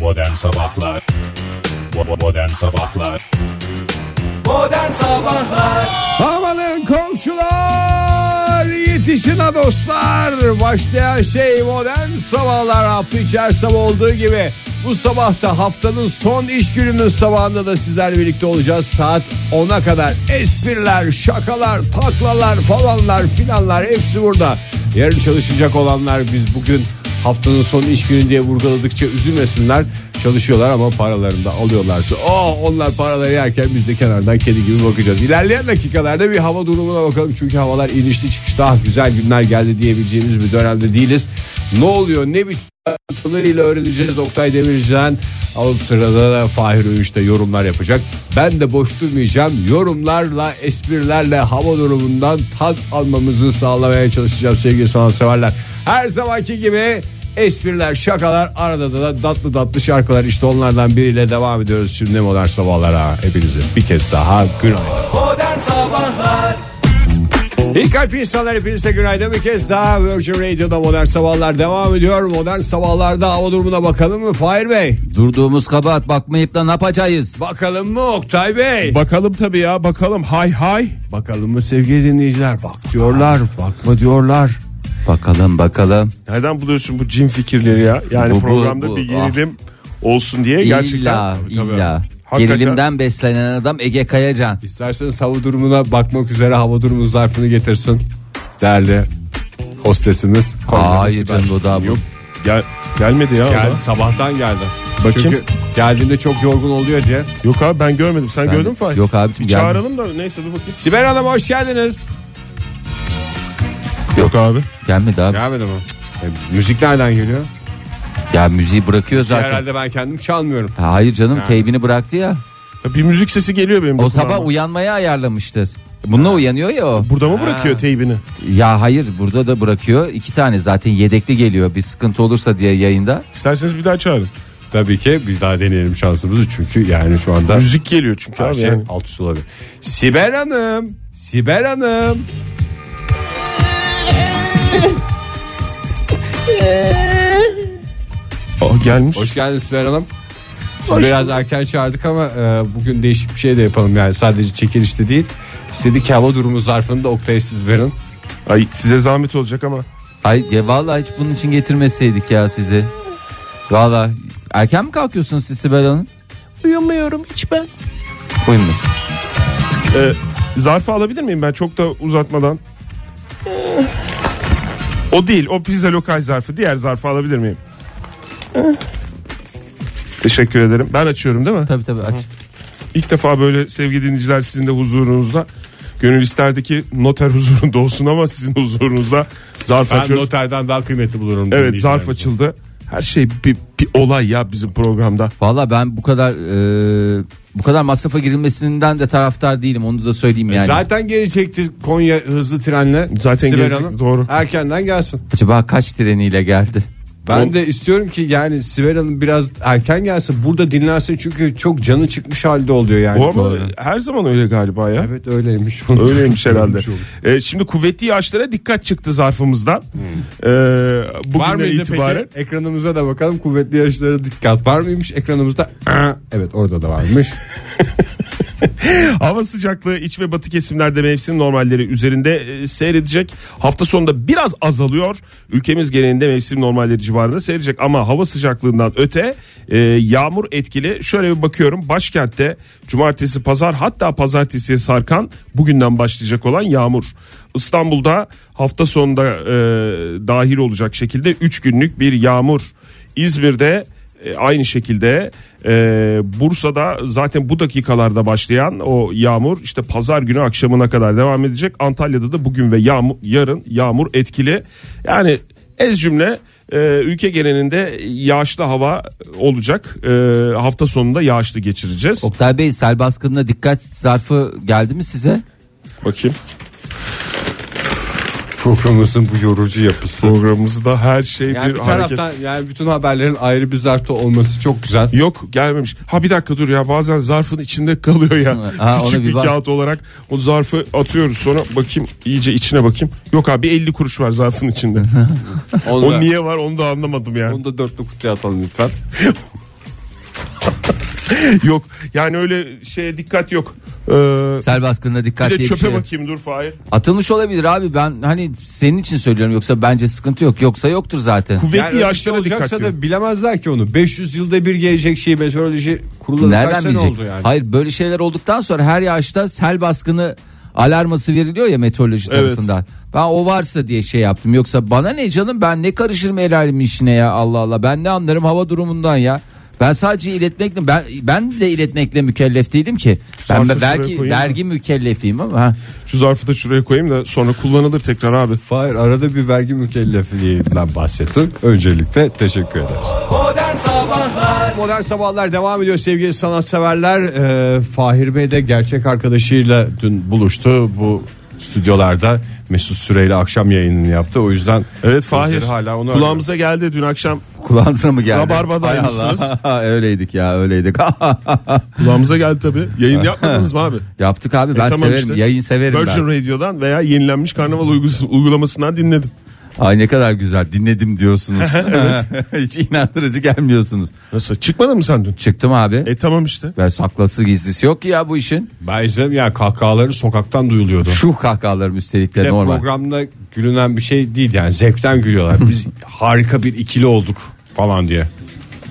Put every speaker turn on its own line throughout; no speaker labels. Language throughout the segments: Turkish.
Modern Sabahlar Bo- Modern Sabahlar
Modern Sabahlar
Amanın komşular yetişin ha dostlar Başlayan şey modern sabahlar hafta içi her sabah olduğu gibi Bu sabahta haftanın son iş gününün sabahında da sizlerle birlikte olacağız Saat 10'a kadar espriler, şakalar, taklalar falanlar filanlar hepsi burada Yarın çalışacak olanlar biz bugün haftanın son iş günü diye vurguladıkça üzülmesinler Çalışıyorlar ama paralarını da alıyorlarsa oh, onlar paraları yerken biz de kenardan kedi gibi bakacağız. İlerleyen dakikalarda bir hava durumuna bakalım. Çünkü havalar inişli çıkışlı ah güzel günler geldi diyebileceğimiz bir dönemde değiliz. Ne oluyor ne bitiyor öğreneceğiz. Oktay Demircan alıp sırada da Fahir Öğüş de yorumlar yapacak. Ben de boş durmayacağım. Yorumlarla, esprilerle hava durumundan tat almamızı sağlamaya çalışacağım sevgili sanatseverler. Her zamanki gibi Espriler, şakalar, arada da tatlı tatlı şarkılar işte onlardan biriyle devam ediyoruz şimdi modern sabahlara. Hepinize bir kez daha günaydın.
Modern Sabahlar
İyi kalp insanlar hepinize günaydın bir kez daha Virgin Radio'da modern sabahlar devam ediyor. Modern sabahlarda hava durumuna bakalım mı Fahir Bey?
Durduğumuz kabahat bakmayıp da ne yapacağız?
Bakalım mı Oktay Bey?
Bakalım tabii ya bakalım hay hay.
bakalım mı sevgili dinleyiciler? Bak diyorlar, bakma diyorlar.
Bakalım bakalım.
Nereden buluyorsun bu cin fikirleri ya? Yani
Bu, bu,
programda
bu, Ah.
bir gerilim olsun diye E, gerçekten.
İlla illa.
Hakikaten.
Gerilimden beslenen adam Ege Kayacan.
İsterseniz hava durumuna bakmak üzere hava durumu zarfını getirsin. Değerli hostesimiz.
Hayır canım o daha bu.
Yok gel, gelmedi ya. o da.
Geldi sabahtan geldi.
Bakayım.
Çünkü geldiğinde çok yorgun oluyor diye.
Yok abi ben görmedim. Sen gördün mü Fahir?
Yok abicim,
Bir
gelmedi.
çağıralım da neyse dur bakayım.
Sibel Hanım hoş geldiniz.
Yok abi.
Gelmedi abi. Ya,
Gelmedi mi? E, müzik nereden geliyor?
müziği bırakıyor zaten.
Herhalde ben kendim çalmıyorum.
Ha, Hayır canım teybini bıraktı ya.
Ya Bir müzik sesi geliyor benim.
O
dokunağıma.
sabah uyanmaya ayarlamıştır. Bununla uyanıyor ya o.
Burada mı bırakıyor teybini?
Ya hayır burada da bırakıyor. iki tane zaten yedekli geliyor. Bir sıkıntı olursa diye yayında.
İsterseniz bir daha çağırın.
Tabii ki bir daha deneyelim şansımızı çünkü yani şu anda
Müzik geliyor çünkü
her
abi
şey
yani.
alt üst olabilir. Sibel Hanım, Sibel Hanım.
Oh, gelmiş.
Hoş geldiniz Sibel Hanım. Siz biraz erken çağırdık ama e, bugün değişik bir şey de yapalım yani sadece çekilişte değil. İstedik ki hava durumu zarfını da Oktay'a siz verin.
Ay size zahmet olacak ama.
Ay ya vallahi hiç bunun için getirmeseydik ya sizi. Vallahi erken mi kalkıyorsunuz siz Sibel Hanım?
Uyumuyorum hiç ben.
Uyumuyorsunuz.
zarfı alabilir miyim ben çok da uzatmadan? O değil o pizza lokal zarfı diğer zarfı alabilir miyim? Teşekkür ederim. Ben açıyorum değil mi?
Tabii tabii aç.
İlk defa böyle sevgili dinleyiciler sizin de huzurunuzda. Gönül isterdi ki noter huzurunda olsun ama sizin huzurunuzda zarf
Ben
açıyoruz.
noterden daha kıymetli bulurum.
Evet zarf
dinleyicilerimizi.
açıldı. Her şey bir, bir olay ya bizim programda.
Valla ben bu kadar e, bu kadar masrafa girilmesinden de taraftar değilim onu da söyleyeyim yani.
Zaten gelecekti Konya hızlı trenle.
Zaten
Sibel
gelecekti,
Hanım
doğru.
Erkenden gelsin.
Acaba kaç treniyle geldi?
Ben
O-
de istiyorum ki yani Sibel Hanım biraz erken gelsin. Burada dinlensin çünkü çok canı çıkmış halde oluyor yani.
Bu ama her zaman öyle galiba ya.
Evet öyleymiş.
Öyleymiş herhalde.
Öyleymiş oldu.
Ee, şimdi kuvvetli yaşlara dikkat çıktı zarfımızdan. Ee, bugünden
Hmm. Var mıydı
itibaren.
peki? Ekranımıza da bakalım. Kuvvetli yaşlara dikkat. Var mıymış ekranımızda? Aa, Evet orada da varmış.
Hava sıcaklığı iç ve batı kesimlerde mevsim normalleri üzerinde e, seyredecek. Hafta sonunda biraz azalıyor. Ülkemiz genelinde mevsim normalleri civarında seyredecek. Ama hava sıcaklığından öte e, yağmur etkili. Şöyle bir bakıyorum başkentte cumartesi pazar hatta pazartesiye sarkan bugünden başlayacak olan yağmur. İstanbul'da hafta sonunda e, dahil olacak şekilde 3 günlük bir yağmur. İzmir'de e, aynı şekilde e, Bursa'da zaten bu dakikalarda başlayan o yağmur işte pazar günü akşamına kadar devam edecek. Antalya'da da bugün ve yağmur, yarın yağmur etkili. Yani ez cümle e, ülke genelinde yağışlı hava olacak. E, hafta sonunda yağışlı geçireceğiz.
Oktay Bey sel baskınına dikkat zarfı geldi mi size?
Bakayım
Programımızın bu yorucu yapısı.
programımızda her şey
Yani bir,
bir hareket.
taraftan yani bütün haberlerin ayrı bir zarfta olması çok güzel.
Yok gelmemiş. Ha bir dakika dur ya bazen zarfın içinde kalıyor ya.
Ha, ona
Küçük
bir
bir
bak.
kağıt olarak o zarfı atıyoruz sonra bakayım iyice içine bakayım. Yok abi 50 kuruş var zarfın içinde.
Onu,
o
da,
niye var onu da anlamadım yani.
onu da dörtlü kutuya atalım lütfen.
yok yani öyle şeye dikkat yok. Ee,
Sel baskınına dikkat
bir
diye
de
bir
çöpe
şey yok.
bakayım dur Fahir.
Atılmış olabilir abi ben hani senin için söylüyorum yoksa bence sıkıntı yok. Yoksa yoktur zaten.
Kuvvetli
Yani
yaşlara dikkat
şey olacaksa
diyor.
da bilemezler ki onu. 500 yılda bir gelecek şey meteoroloji kurulları kaç
Nereden
sene
bilecek?
oldu yani.
Hayır böyle şeyler olduktan sonra her yağışta sel baskını alarması veriliyor ya meteoroloji
Evet.
tarafından. Ben o varsa diye şey yaptım. Yoksa bana ne canım ben ne karışırım el alemin işine ya Allah Allah. Ben ne anlarım hava durumundan ya. Ben sadece iletmekle ben ben de iletmekle mükellef değilim ki. Ben
Sarsı şuraya
belki
koyayım mı?
vergi mükellefiyim ama ha.
Şu zarfı da şuraya koyayım da sonra kullanılır tekrar abi.
Hayır arada bir vergi mükellefliğinden bahsettin. Öncelikle teşekkür ederiz.
Modern Sabahlar
Modern Sabahlar devam ediyor sevgili sanatseverler. Ee, Fahir Bey de gerçek arkadaşıyla dün buluştu bu stüdyolarda. Mesut Süreyle akşam yayınını yaptı. O yüzden
Evet Fahir
gözleri hala onu
kulağımıza geldi dün akşam
Kulağınıza mı geldi?
Rabarbadaymışsınız.
Hay Allah. Öyleydik ya öyleydik.
kulağımıza geldi tabii. Yayın yapmadınız mı abi?
Yaptık abi ben
E, tamam
severim
işte.
yayın severim ben.
Virgin Radio'dan veya yenilenmiş karnaval uygusu- uygulamasından dinledim.
Ay ne kadar güzel dinledim diyorsunuz. Hiç inandırıcı gelmiyorsunuz.
Nasıl çıkmadın mı sen dün?
Çıktım abi.
E tamam işte.
Ve saklası gizlisi yok ki ya bu işin.
Ben izledim ya kahkahaları sokaktan duyuluyordu.
Şu kahkahalarım üstelik
E,
de
Ve
normal.
programda gülünen bir şey değil yani zevkten gülüyorlar. Biz harika bir ikili olduk falan diye.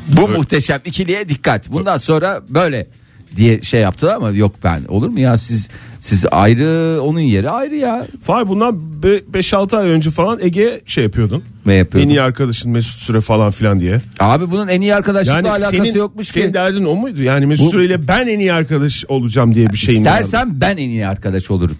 Bu muhteşem ikiliye dikkat. Bundan sonra böyle diye şey yaptılar ama yok ben. Olur mu ya siz siz ayrı onun yeri ayrı ya.
Fahir bundan 5-6 ay önce falan Ege şey yapıyordun.
Ne yapıyordum?
En iyi arkadaşın Mesut Süre falan filan diye.
Abi bunun en iyi arkadaşlıkla
Yani
alakası
senin,
yokmuş
senin
ki.
derdin o muydu? Yani Mesut
Bu-
Süre ile ben en iyi arkadaş olacağım diye bir şey
İstersen ben en iyi arkadaş olurum.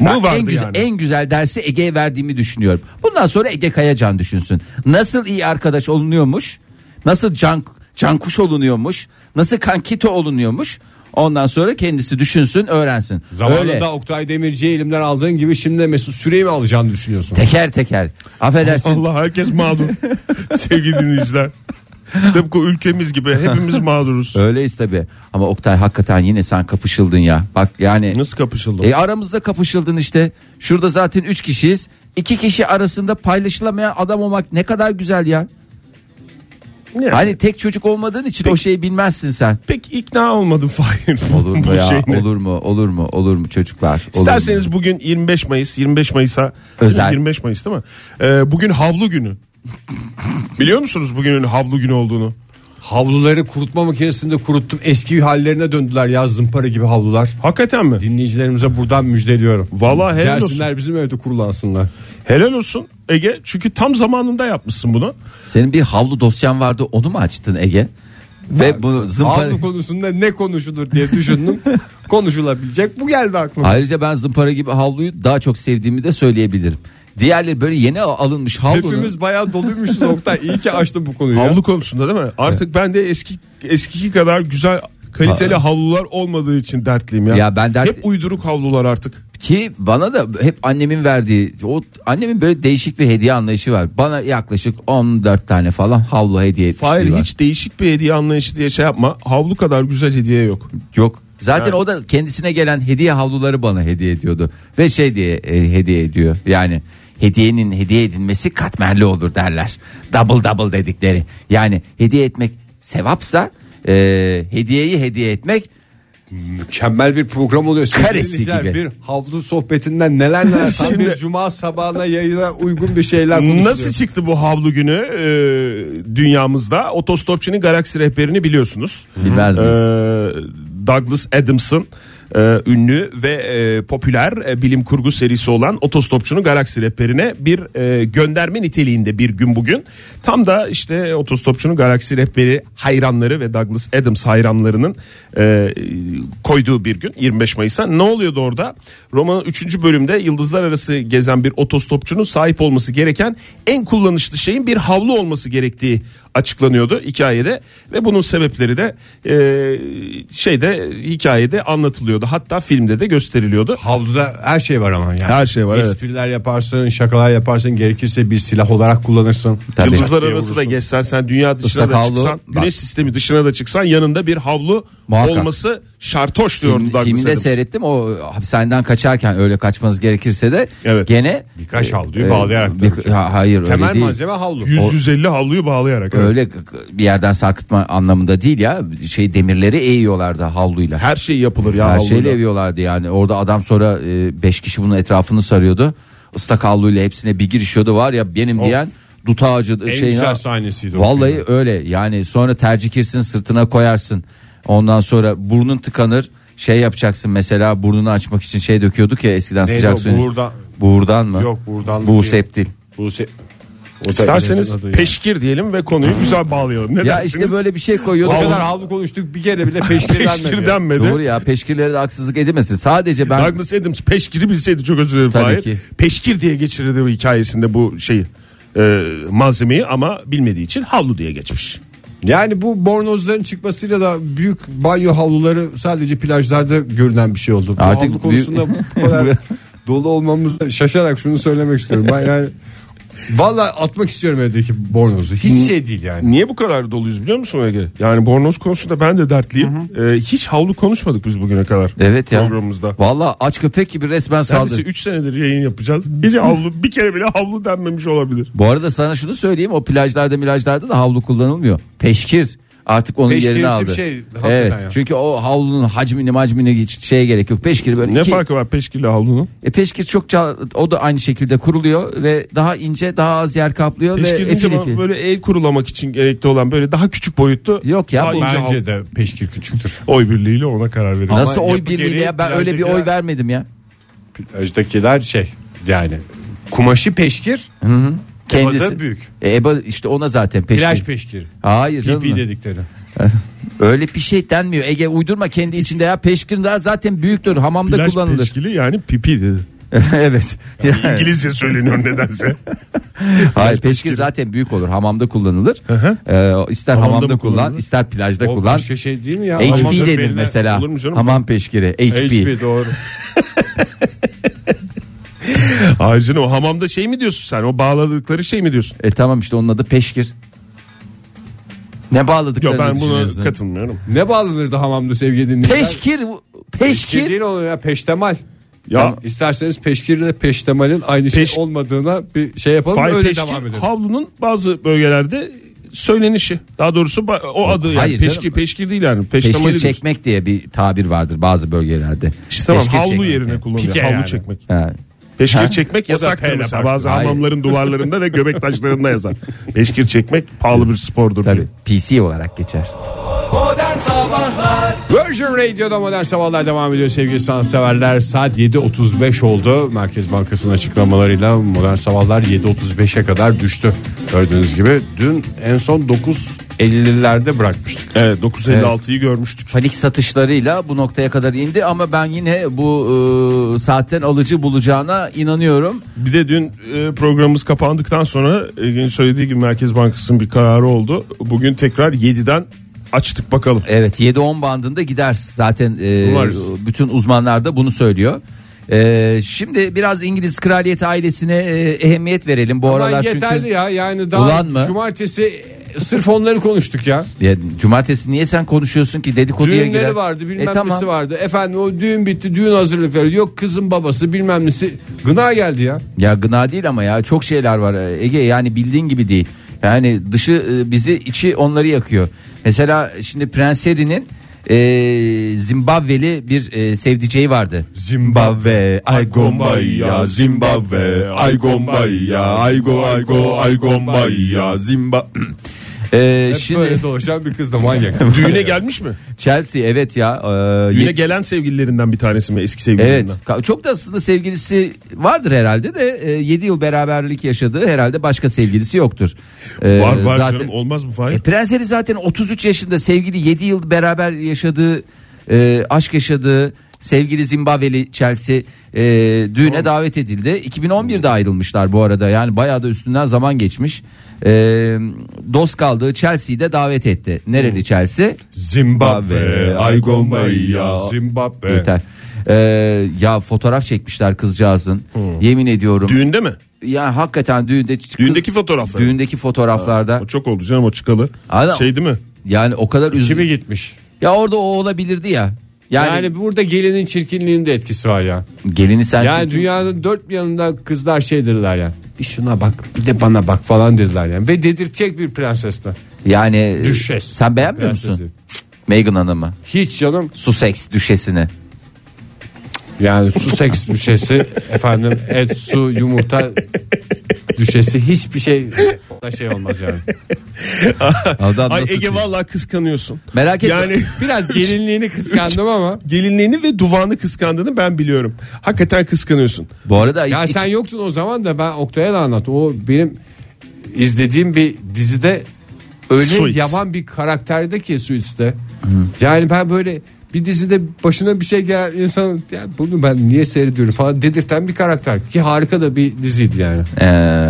Bu
Ben
vardı
en güzel
yani.
en güzel dersi Ege'ye verdiğimi düşünüyorum. Bundan sonra Ege Kayacan düşünsün. Nasıl iyi arkadaş olunuyormuş? Nasıl can cankuş olunuyormuş? Nasıl kankito olunuyormuş? Ondan sonra kendisi düşünsün, öğrensin.
Zamanında
Öyle
Oktay Demirci'yi elimden aldığın gibi şimdi de Mesut Süreyi mi alacağını düşünüyorsun?
teker teker. Affedersin.
Allah herkes mağdur. Sevgili dinleyiciler. Tıpkı ülkemiz gibi hepimiz mağduruz.
Öyleyiz tabii. Ama Oktay hakikaten yine sen kapışıldın ya. Bak yani
Nasıl kapışıldı?
E aramızda kapışıldın işte. Şurada zaten 3 kişiyiz. 2 kişi arasında paylaşılamayan adam olmak ne kadar güzel ya.
Yani.
Hani tek çocuk olmadığın için o şeyi bilmezsin sen. şey
Pek ikna olmadım Fahir.
Olur mu
bu
ya?
şeyine.
Olur mu? Olur mu? Olur mu çocuklar? Olur mu?
İsterseniz bugün 25 Mayıs 25 Mayıs'a
Özel.
25 Mayıs değil mi? Ee, bugün havlu günü. Biliyor musunuz bugünün havlu günü olduğunu?
Havluları kurutma makinesinde kuruttum. Eski hallerine döndüler ya zımpara gibi havlular.
Hakikaten mi?
Dinleyicilerimize buradan müjdeliyorum.
Vallahi helal
Gelsinler bizim evde kurulansınlar.
Helal olsun Ege. Çünkü tam zamanında yapmışsın bunu.
Senin bir havlu dosyan vardı onu mu açtın Ege? Ve bu zımpara...
Havlu konusunda ne konuşulur diye düşündüm. Konuşulabilecek bu geldi aklıma.
Ayrıca ben zımpara gibi havluyu daha çok sevdiğimi de söyleyebilirim. Diğerleri böyle yeni alınmış havlunun...
Hepimiz bayağı doluymuşuz Oktay. İyi ki açtım bu konuyu. ya.
Havlu konusunda değil mi? Artık ben de eski eskiki kadar güzel kaliteli havlular olmadığı için dertliyim ya.
Ya ben dert-
Hep uyduruk havlular artık.
Ki bana da hep annemin verdiği o annemin böyle değişik bir hediye anlayışı var. Bana yaklaşık 14 tane falan havlu hediye etmişliği
Hayır
var.
hiç değişik bir hediye anlayışı diye şey yapma. Havlu kadar güzel hediye yok.
yok. Zaten
Yani.
o da kendisine gelen hediye havluları bana hediye ediyordu ve şey diye e, hediye ediyor. Yani hediyenin hediye edilmesi katmerli olur derler. Double double dedikleri. Yani hediye etmek sevapsa e, hediyeyi hediye etmek
Mükemmel bir program oluyor. Sevgili
Karesi
dinleyiciler,
gibi.
Bir havlu sohbetinden neler neler. Tam
Şimdi-
bir cuma sabahına yayına uygun bir şeyler konuşuluyor.
Nasıl çıktı bu havlu günü e, dünyamızda? Otostopçunun galaksi rehberini biliyorsunuz.
Bilmez miyiz?
E, Douglas Adams'ın e, ünlü ve e, popüler e, bilim kurgu serisi olan Otostopçunun Galaksi Rehberi'ne bir e, gönderme niteliğinde bir gün bugün. Tam da işte Otostopçunun Galaksi Rehberi hayranları ve Douglas Adams hayranlarının e, koyduğu bir gün 25 Mayıs'a. Ne oluyordu orada? Romanın 3. bölümde yıldızlar arası gezen bir otostopçunun sahip olması gereken en kullanışlı şeyin bir havlu olması gerektiği açıklanıyordu hikayede ve bunun sebepleri de e, şeyde hikayede anlatılıyordu. Hatta filmde de gösteriliyordu.
Havluda her şey var ama yani.
Her şey var, evet.
Espriler yaparsın, şakalar yaparsın, gerekirse bir silah olarak kullanırsın.
Tabii.
Yıldızlar
Diye
arası da
vurursun.
geçsen sen dünya dışına
Islak
da
havlu,
çıksan,
bak.
güneş sistemi dışına da çıksan yanında bir havlu
Muhakkak.
olması şartoş diyor
Film-
Douglas
filminde
Adams.
seyrettim o hapishaneden kaçarken öyle kaçmanız gerekirse de
Evet.
gene e,
Birkaç havluyu bağlayarak
Ee, bir-
tabii ki.
ha- hayır öyle
Temel
değil.
malzeme havlu.
150 havluyu bağlayarak. evet.
Öyle bir yerden sarkıtma anlamında değil ya şey demirleri eğiyorlardı havluyla.
Her şey yapılır ya
Her
havluyla.
şeyle eviyorlardı yani. Orada adam sonra 5 kişi bunun etrafını sarıyordu. Islak havluyla hepsine bir girişiyordu var ya benim diyen dut ağacı
En
şeyine-
güzel sahnesiydi o
Vallahi öyle yani sonra tercih kirsin sırtına koyarsın. Ondan sonra burnun tıkanır şey yapacaksın mesela burnunu açmak için şey döküyorduk ya eskiden
Neydi o,
sıcak suyun.
buğurdan-
Buğurdan mı?
Yok, buğurdan
Bu
değil.
septil.
Bu se- o da
İsterseniz
adı ya.
peşkir diyelim ve konuyu güzel bağlayalım. Ne
Ya
dersiniz?
işte böyle bir şey koyuyorduk.
o kadar havlu konuştuk bir kere bile peşkirlenmedi.
peşkir denmedi.
Doğru ya peşkirlere de haksızlık edilmesin. Sadece ben
Douglas Adams peşkiri bilseydi çok özür dilerim
Tabii
Fahir.
ki.
Peşkir diye geçirirdi bu hikayesinde bu şeyi e, malzemeyi ama bilmediği için havlu diye geçmiş.
yani bu bornozların çıkmasıyla da büyük banyo havluları sadece plajlarda görünen bir şey oldu. Bu
Artık
havlu konusunda
büyük-
bu kadar dolu olmamızda şaşarak şunu söylemek istiyorum. Ben yani Valla atmak istiyorum evdeki bornozu.
Hmm.
Hiç şey değil yani.
Niye bu kadar doluyuz biliyor musun Ege? Yani bornoz konusunda ben de dertliyim. E, hiç havlu konuşmadık biz bugüne kadar.
Evet ya.
Programımızda.
Valla aç köpek gibi resmen
Neredeyse
şey-
saldırdı.
3 senedir yayın yapacağız. Bir havlu bir kere bile havlu denmemiş olabilir.
Bu arada sana şunu söyleyeyim o plajlarda milajlarda da havlu kullanılmıyor. Peşkir artık onun
Peşkir
yerini
bizim
aldı.
şey, hakikaten
evet.
ya.
Çünkü o havlunun hacmini macmini hiç şeye gerek yok. Peşkir böyle
Ne
iki-
farkı var peşkirle havlunun?
E, peşkir çok ça- o da aynı şekilde kuruluyor ve daha ince daha az yer kaplıyor
Peşkir
ve
deyince
efil
bana
efil.
böyle el kurulamak için gerekli olan böyle daha küçük boyutlu.
Yok ya,
daha
bu-
ince havlu.
Bence de peşkir küçüktür.
Oy birliğiyle ona karar verelim.
Nasıl
Ama
oy
yapı
birliğiyle
gereği
ya ben öyle bir
plajdakiler-
oy vermedim ya.
Plajdakiler şey yani kumaşı peşkir.
Kendisi.
büyük.
E, Eba işte ona zaten peşkir.
Plaj peşkir.
Hayır canım.
Pipi dedikleri.
Öyle bir şey denmiyor. Ege uydurma kendi içinde ya. Peşkir daha zaten büyüktür. Hamamda
Plaj
kullanılır.
peşkili yani pipi dedi.
evet. Yani-
İngilizce söyleniyor nedense.
Hayır peşkir zaten büyük olur. Hamamda kullanılır.
hı.
Ee, ister
Hamamda
hamamda,
mı
kullan,
kullanılır?
ister plajda
O
kullan.
başka şey değil mi ya?
HP
Hamam
denir
beline-
mesela.
olur mu canım?
Hamam peşkiri HP.
HP doğru.
Hayır canım o hamamda şey mi diyorsun sen? O bağladıkları şey mi diyorsun?
E tamam işte onun adı peşkir. Ne
Yok
bağladıklarını
ben buna
düşünüyorsun?
katılmıyorum.
Ne bağlanırdı hamamda sevgili dinleyiciler?
Peşkir
Peşkir
peşkir
değil o ya peştemal.
Ya
Ya. İsterseniz peşkirle peştemalin aynı
Peş-
şey olmadığına bir şey yapalım
Fay
öyle
peşkir
devam edelim.
havlunun bazı bölgelerde söylenişi. Daha doğrusu ba- o adı yani
hayır
peşkir
canım.
peşkir değil yani. Peştemali
peşkir
diyorsun.
çekmek diye bir tabir vardır bazı bölgelerde.
İşte tamam
Peşkir
havlu
çekmek
yerine
yani.
kullanılıyor.
Pike
Havlu
yani.
çekmek.
Ha.
Peşkir
Ha?
çekmek
O da P
yasaktır
ile
mesela. Bazı
başlıyor.
hamamların duvarlarında ve göbek taşlarında yazar. Peşkir çekmek pahalı bir spordur.
Tabii
diyor.
PC olarak geçer.
Modern Sabahlar
Virgin Radio'da modern sabahlar devam ediyor sevgili sanatseverler. Saat 7.35 oldu. Merkez Bankası'nın açıklamalarıyla modern sabahlar 7.35'e kadar düştü. Gördüğünüz gibi dün en son 9.50'lerde bırakmıştık.
Evet 956'yı görmüştük.
panik satışlarıyla bu noktaya kadar indi ama ben yine bu e, saatten alıcı bulacağına inanıyorum.
Bir de dün e, programımız kapandıktan sonra Ege'nin söylediği gibi Merkez Bankası'nın bir kararı oldu. Bugün tekrar 7'den açtık bakalım.
Evet 7-10 bandında gider zaten e,
Umarız.
bütün uzmanlar da bunu söylüyor. E, şimdi biraz İngiliz kraliyet ailesine e, ehemmiyet verelim bu aralar
Aman yeterli
çünkü.
ya yani daha
Ulan mı?
cumartesi sırf onları konuştuk ya.
Ya, cumartesi niye sen konuşuyorsun ki dedikoduya
Düğünleri
girer.
vardı bilmem
E, tamam.
nesi vardı. Efendim o düğün bitti düğün hazırlıkları yok kızın babası bilmem nesi. Gına geldi ya.
Ya gına değil ama ya çok şeyler var E, Ege yani bildiğin gibi değil. Yani dışı e, bizi içi onları yakıyor. Mesela şimdi Prens Harry'nin e, Zimbabveli bir e, sevdiceği vardı. Zimbabwe, ay
Gombaya, Zimbabwe, ay Gombaya, ay go, ay go, ay Gombaya,
Zimba.
Hep
E, şimdi
böyle dolaşan bir kız da manyak.
Düğüne gelmiş mi?
Chelsea evet ya. e,
Düğüne
yet-
gelen sevgililerinden bir tanesi mi eski
Evet.
sevgililerinden?
Ka- Çok da aslında sevgilisi vardır herhalde de 7 yıl beraberlik yaşadığı herhalde başka sevgilisi yoktur. E,
Var var
zaten-
canım olmaz mı
E,
Fahir?
Prens Harry zaten 33 yaşında sevgili 7 yıl beraber yaşadığı e, aşk yaşadığı sevgili Zimbabweli Chelsea e, düğüne davet edildi. 2011'de ayrılmışlar bu arada yani bayağı da üstünden zaman geçmiş. E, dost kaldığı Chelsea'yi de davet etti. Nereli Chelsea?
Zimbabwe, ay Gombaya, Zimbabwe.
Yeter. E, ya fotoğraf çekmişler kızcağızın. Yemin ediyorum.
Düğünde mi?
Ya hakikaten düğünde kız-
Düğündeki fotoğraflar.
Düğündeki fotoğraflarda.
O çok oldu canım o çıkalı.
Adam-
Şey değil mi?
Yani o kadar üzücü.
Kimi gitmiş?
Ya orada o olabilirdi ya. Yani,
Yani, burada gelinin çirkinliğinin de etkisi var ya.
gelini sen
Yani
çünkü-
dünyanın dört bir yanında kızlar şey dediler ya. Bir şuna bak bir de bana bak falan dediler yani. Ve dedirtecek bir prensesti.
yani
Düşes.
sen beğenmiyor
Prensesi.
musun? Meghan Hanım'ı.
Hiç canım
Sussex düşesini.
yani su seks düşesi efendim et su yumurta düşesi hiçbir şey şey olmaz yani.
Adam
Ay
nasıl-
Ege vallahi kıskanıyorsun.
Merak etme.
Yani
Biraz gelinliğini kıskandım ama.
gelinliğini ve duvağını kıskandığını ben biliyorum. Hakikaten kıskanıyorsun.
Bu arada
Ya
hiç-
sen
hiç-
yoktun o zaman da ben Oktay'a da anlat. O benim izlediğim bir dizide öyle
Suits.
yaman bir karakterde ki Suits'te. Yani ben böyle bir dizide başına bir şey gelen insanın ya bunu ben niye seyrediyorum falan dedirten bir karakter ki harika da bir diziydi yani.
Ee,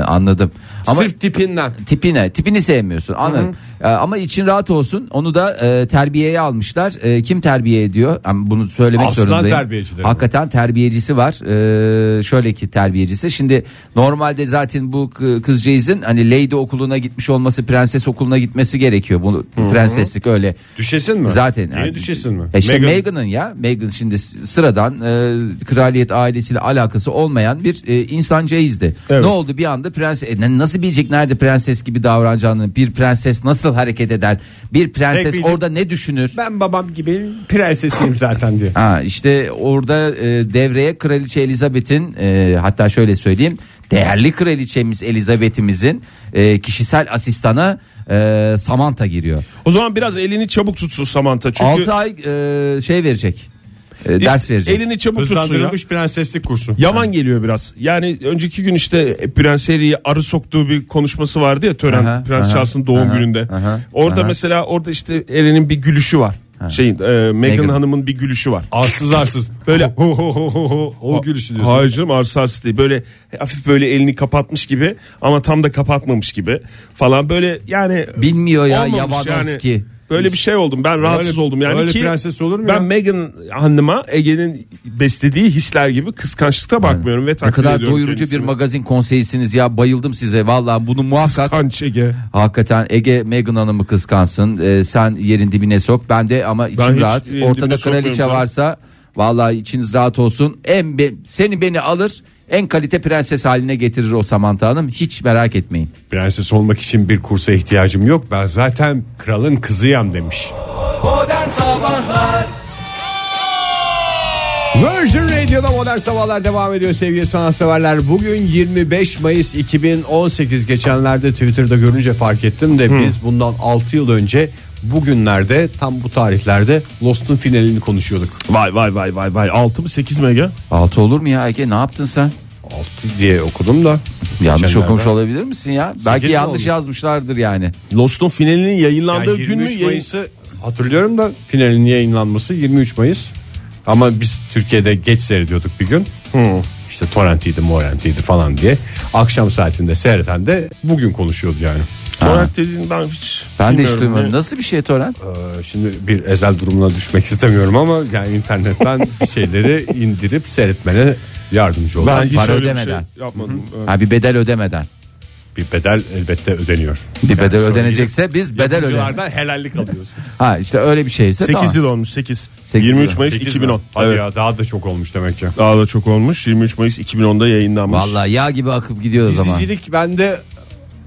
anladım. Ama
Sırf tipinden.
tipine tipini sevmiyorsun anladım Ee, ama için rahat olsun onu da e, terbiyeye almışlar E, kim terbiye ediyor Yani bunu söylemek
Aslan
zorundayım
terbiyecileri.
hakikaten terbiyecisi var Ee, şöyle ki terbiyecisi şimdi normalde zaten bu kı- kızcağızın hani lady okuluna gitmiş olması prenses okuluna gitmesi gerekiyor bu prenseslik öyle
Düşesin mi?
Zaten
Niye düşesin mi?
E işte
Meghan-
Meghan'ın ya Meghan şimdi s- sıradan e, kraliyet ailesiyle alakası olmayan bir e, insancağızdı.
Evet.
Ne oldu bir anda prens e, ne- nasıl bilecek nerede prenses gibi davranacağını bir prenses nasıl hareket eder bir prenses
Pek bildim.
orada ne düşünür?
Ben babam gibi prensesiyim zaten diye.
Ha işte orada e, devreye kraliçe Elizabeth'in e, hatta şöyle söyleyeyim değerli kraliçemiz Elizabeth'imizin e, kişisel asistanı e, Samantha giriyor.
O zaman biraz elini çabuk tutsun Samantha. Çünkü
6 ay e, şey verecek. e,
İşte
ders verecek.
Elini çabuk tutsun ya.
Hızlandırılmış prenseslik kursu.
Yaman geliyor biraz. Yani önceki gün işte Prens Harry'yi arı soktuğu bir konuşması vardı ya tören
Aha,
Prens
aha,
Charles'ın doğum
aha,
gününde.
aha,
orada
aha.
mesela orada işte Harry'nin bir gülüşü var. Şeyin e, Meghan
Meghan.
Hanım'ın bir gülüşü var.
Arsız arsız.
Böyle ho ho ho ho ho.
O gülüşü diyorsun.
Hayır canım arsa arsa değil. Böyle hafif böyle elini kapatmış gibi ama tam da kapatmamış gibi falan böyle yani
Bilmiyor ya
olmamış
Yabanovski.
yani. Böyle bir şey oldum. Ben rahatsız oldum yani
öyle
ki.
prenses olur mu
Ben
ya?
Meghan Hanım'a Ege'nin beslediği hisler gibi kıskançlıkta bakmıyorum ve
Ne
takdir
kadar
ediyorum
doyurucu
kendisini.
bir magazin konseyisiniz ya bayıldım size valla bunu muhakkak
Kanç Ege.
hakikaten Ege Meghan Hanım'ı kıskansın Ee, sen yerin dibine sok ben de ama içim
Ben hiç
rahat
yerin dibine
ortada
sokmuyorum
kraliçe
canım.
varsa valla içiniz rahat olsun en be- seni beni alır en kalite prenses haline getirir o Samantha Hanım hiç merak etmeyin
Prenses olmak için bir kursa ihtiyacım yok. Ben zaten kralın kızıyam demiş.
Modern Sabahlar
Virgin Radio'da modern sabahlar devam ediyor sevgili sanatseverler. Bugün 25 Mayıs 2018 geçenlerde Twitter'da görünce fark ettim de biz bundan 6 yıl önce bugünlerde tam bu tarihlerde Lost'un finalini konuşuyorduk.
Vay vay vay vay vay. 6 mı 8 mi Ege?
altı olur mu ya Ege ne yaptın sen
6 diye okudum da.
yanlış
geçenlerde.
okumuş olabilir misin ya belki
mi
yanlış
olmuş?
yazmışlardır yani
Lost'un finalinin
Yani
yayınlandığı gün mü?
23
Yayın-
Mayıs'ı hatırlıyorum da finalin yayınlanması 23 Mayıs. Ama biz Türkiye'de geç seyrediyorduk bir gün. İşte torrentiydi morrentiydi falan diye. Akşam saatinde seyreden de bugün konuşuyordu yani.
Torrent dediğini ben hiç
ben de hiç
bilmiyorum
duymadım
ne.
nasıl bir şey Torrent
Ee, Şimdi bir ezel durumuna düşmek istemiyorum ama yani internetten bir şeyleri indirip seyretmene yardımcı olan
Ben hiç
Para
öyle bir şey
ödemeden.
yapmadım. Evet.
ha bir bedel ödemeden
bir bedel elbette ödeniyor.
bir bedel ödenecekse biz bedel ödeyelim
Yapımcılardan helallik alıyorsun.
Ha işte öyle bir şeyse
8
tamam.
yıl olmuş 8.
Sekiz
23
yıl.
Mayıs
Sekiz mi?
2010.
Hadi
evet.
ya, daha da çok olmuş demek ki.
Daha da çok olmuş. 23 Mayıs 2010'da yayınlanmış.
Vallahi yağ gibi akıp gidiyor o zaman.
Dizicilik bende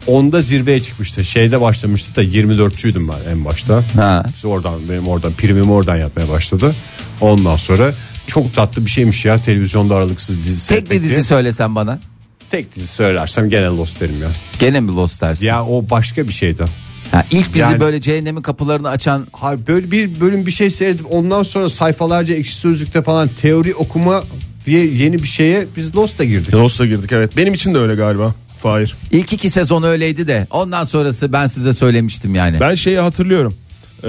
onda zirveye çıkmıştı. Şeyde başlamıştı da 24'çüydüm ben en başta.
Ha.
İşte oradan benim oradan primim oradan yapmaya başladı. Ondan sonra çok tatlı bir şeymiş ya televizyonda aralıksız dizi
Tek bir dizi söylesen bana.
tek dizi söylersem gene Lost derim ya.
Gene mi Lost dersin?
Ya o başka bir şeydi.
Ha, ilk bizi
Yani-
böyle cehennemin kapılarını açan
Hayır, böyle bir bölüm bir şey seyredip ondan sonra sayfalarca ekşi sözlükte falan teori okuma diye yeni bir şeye biz Lost'a girdik.
Lost'a girdik evet. Benim için de öyle galiba. Fahir.
ilk iki sezon öyleydi de ondan sonrası ben size söylemiştim yani.
Ben şeyi hatırlıyorum. Ee,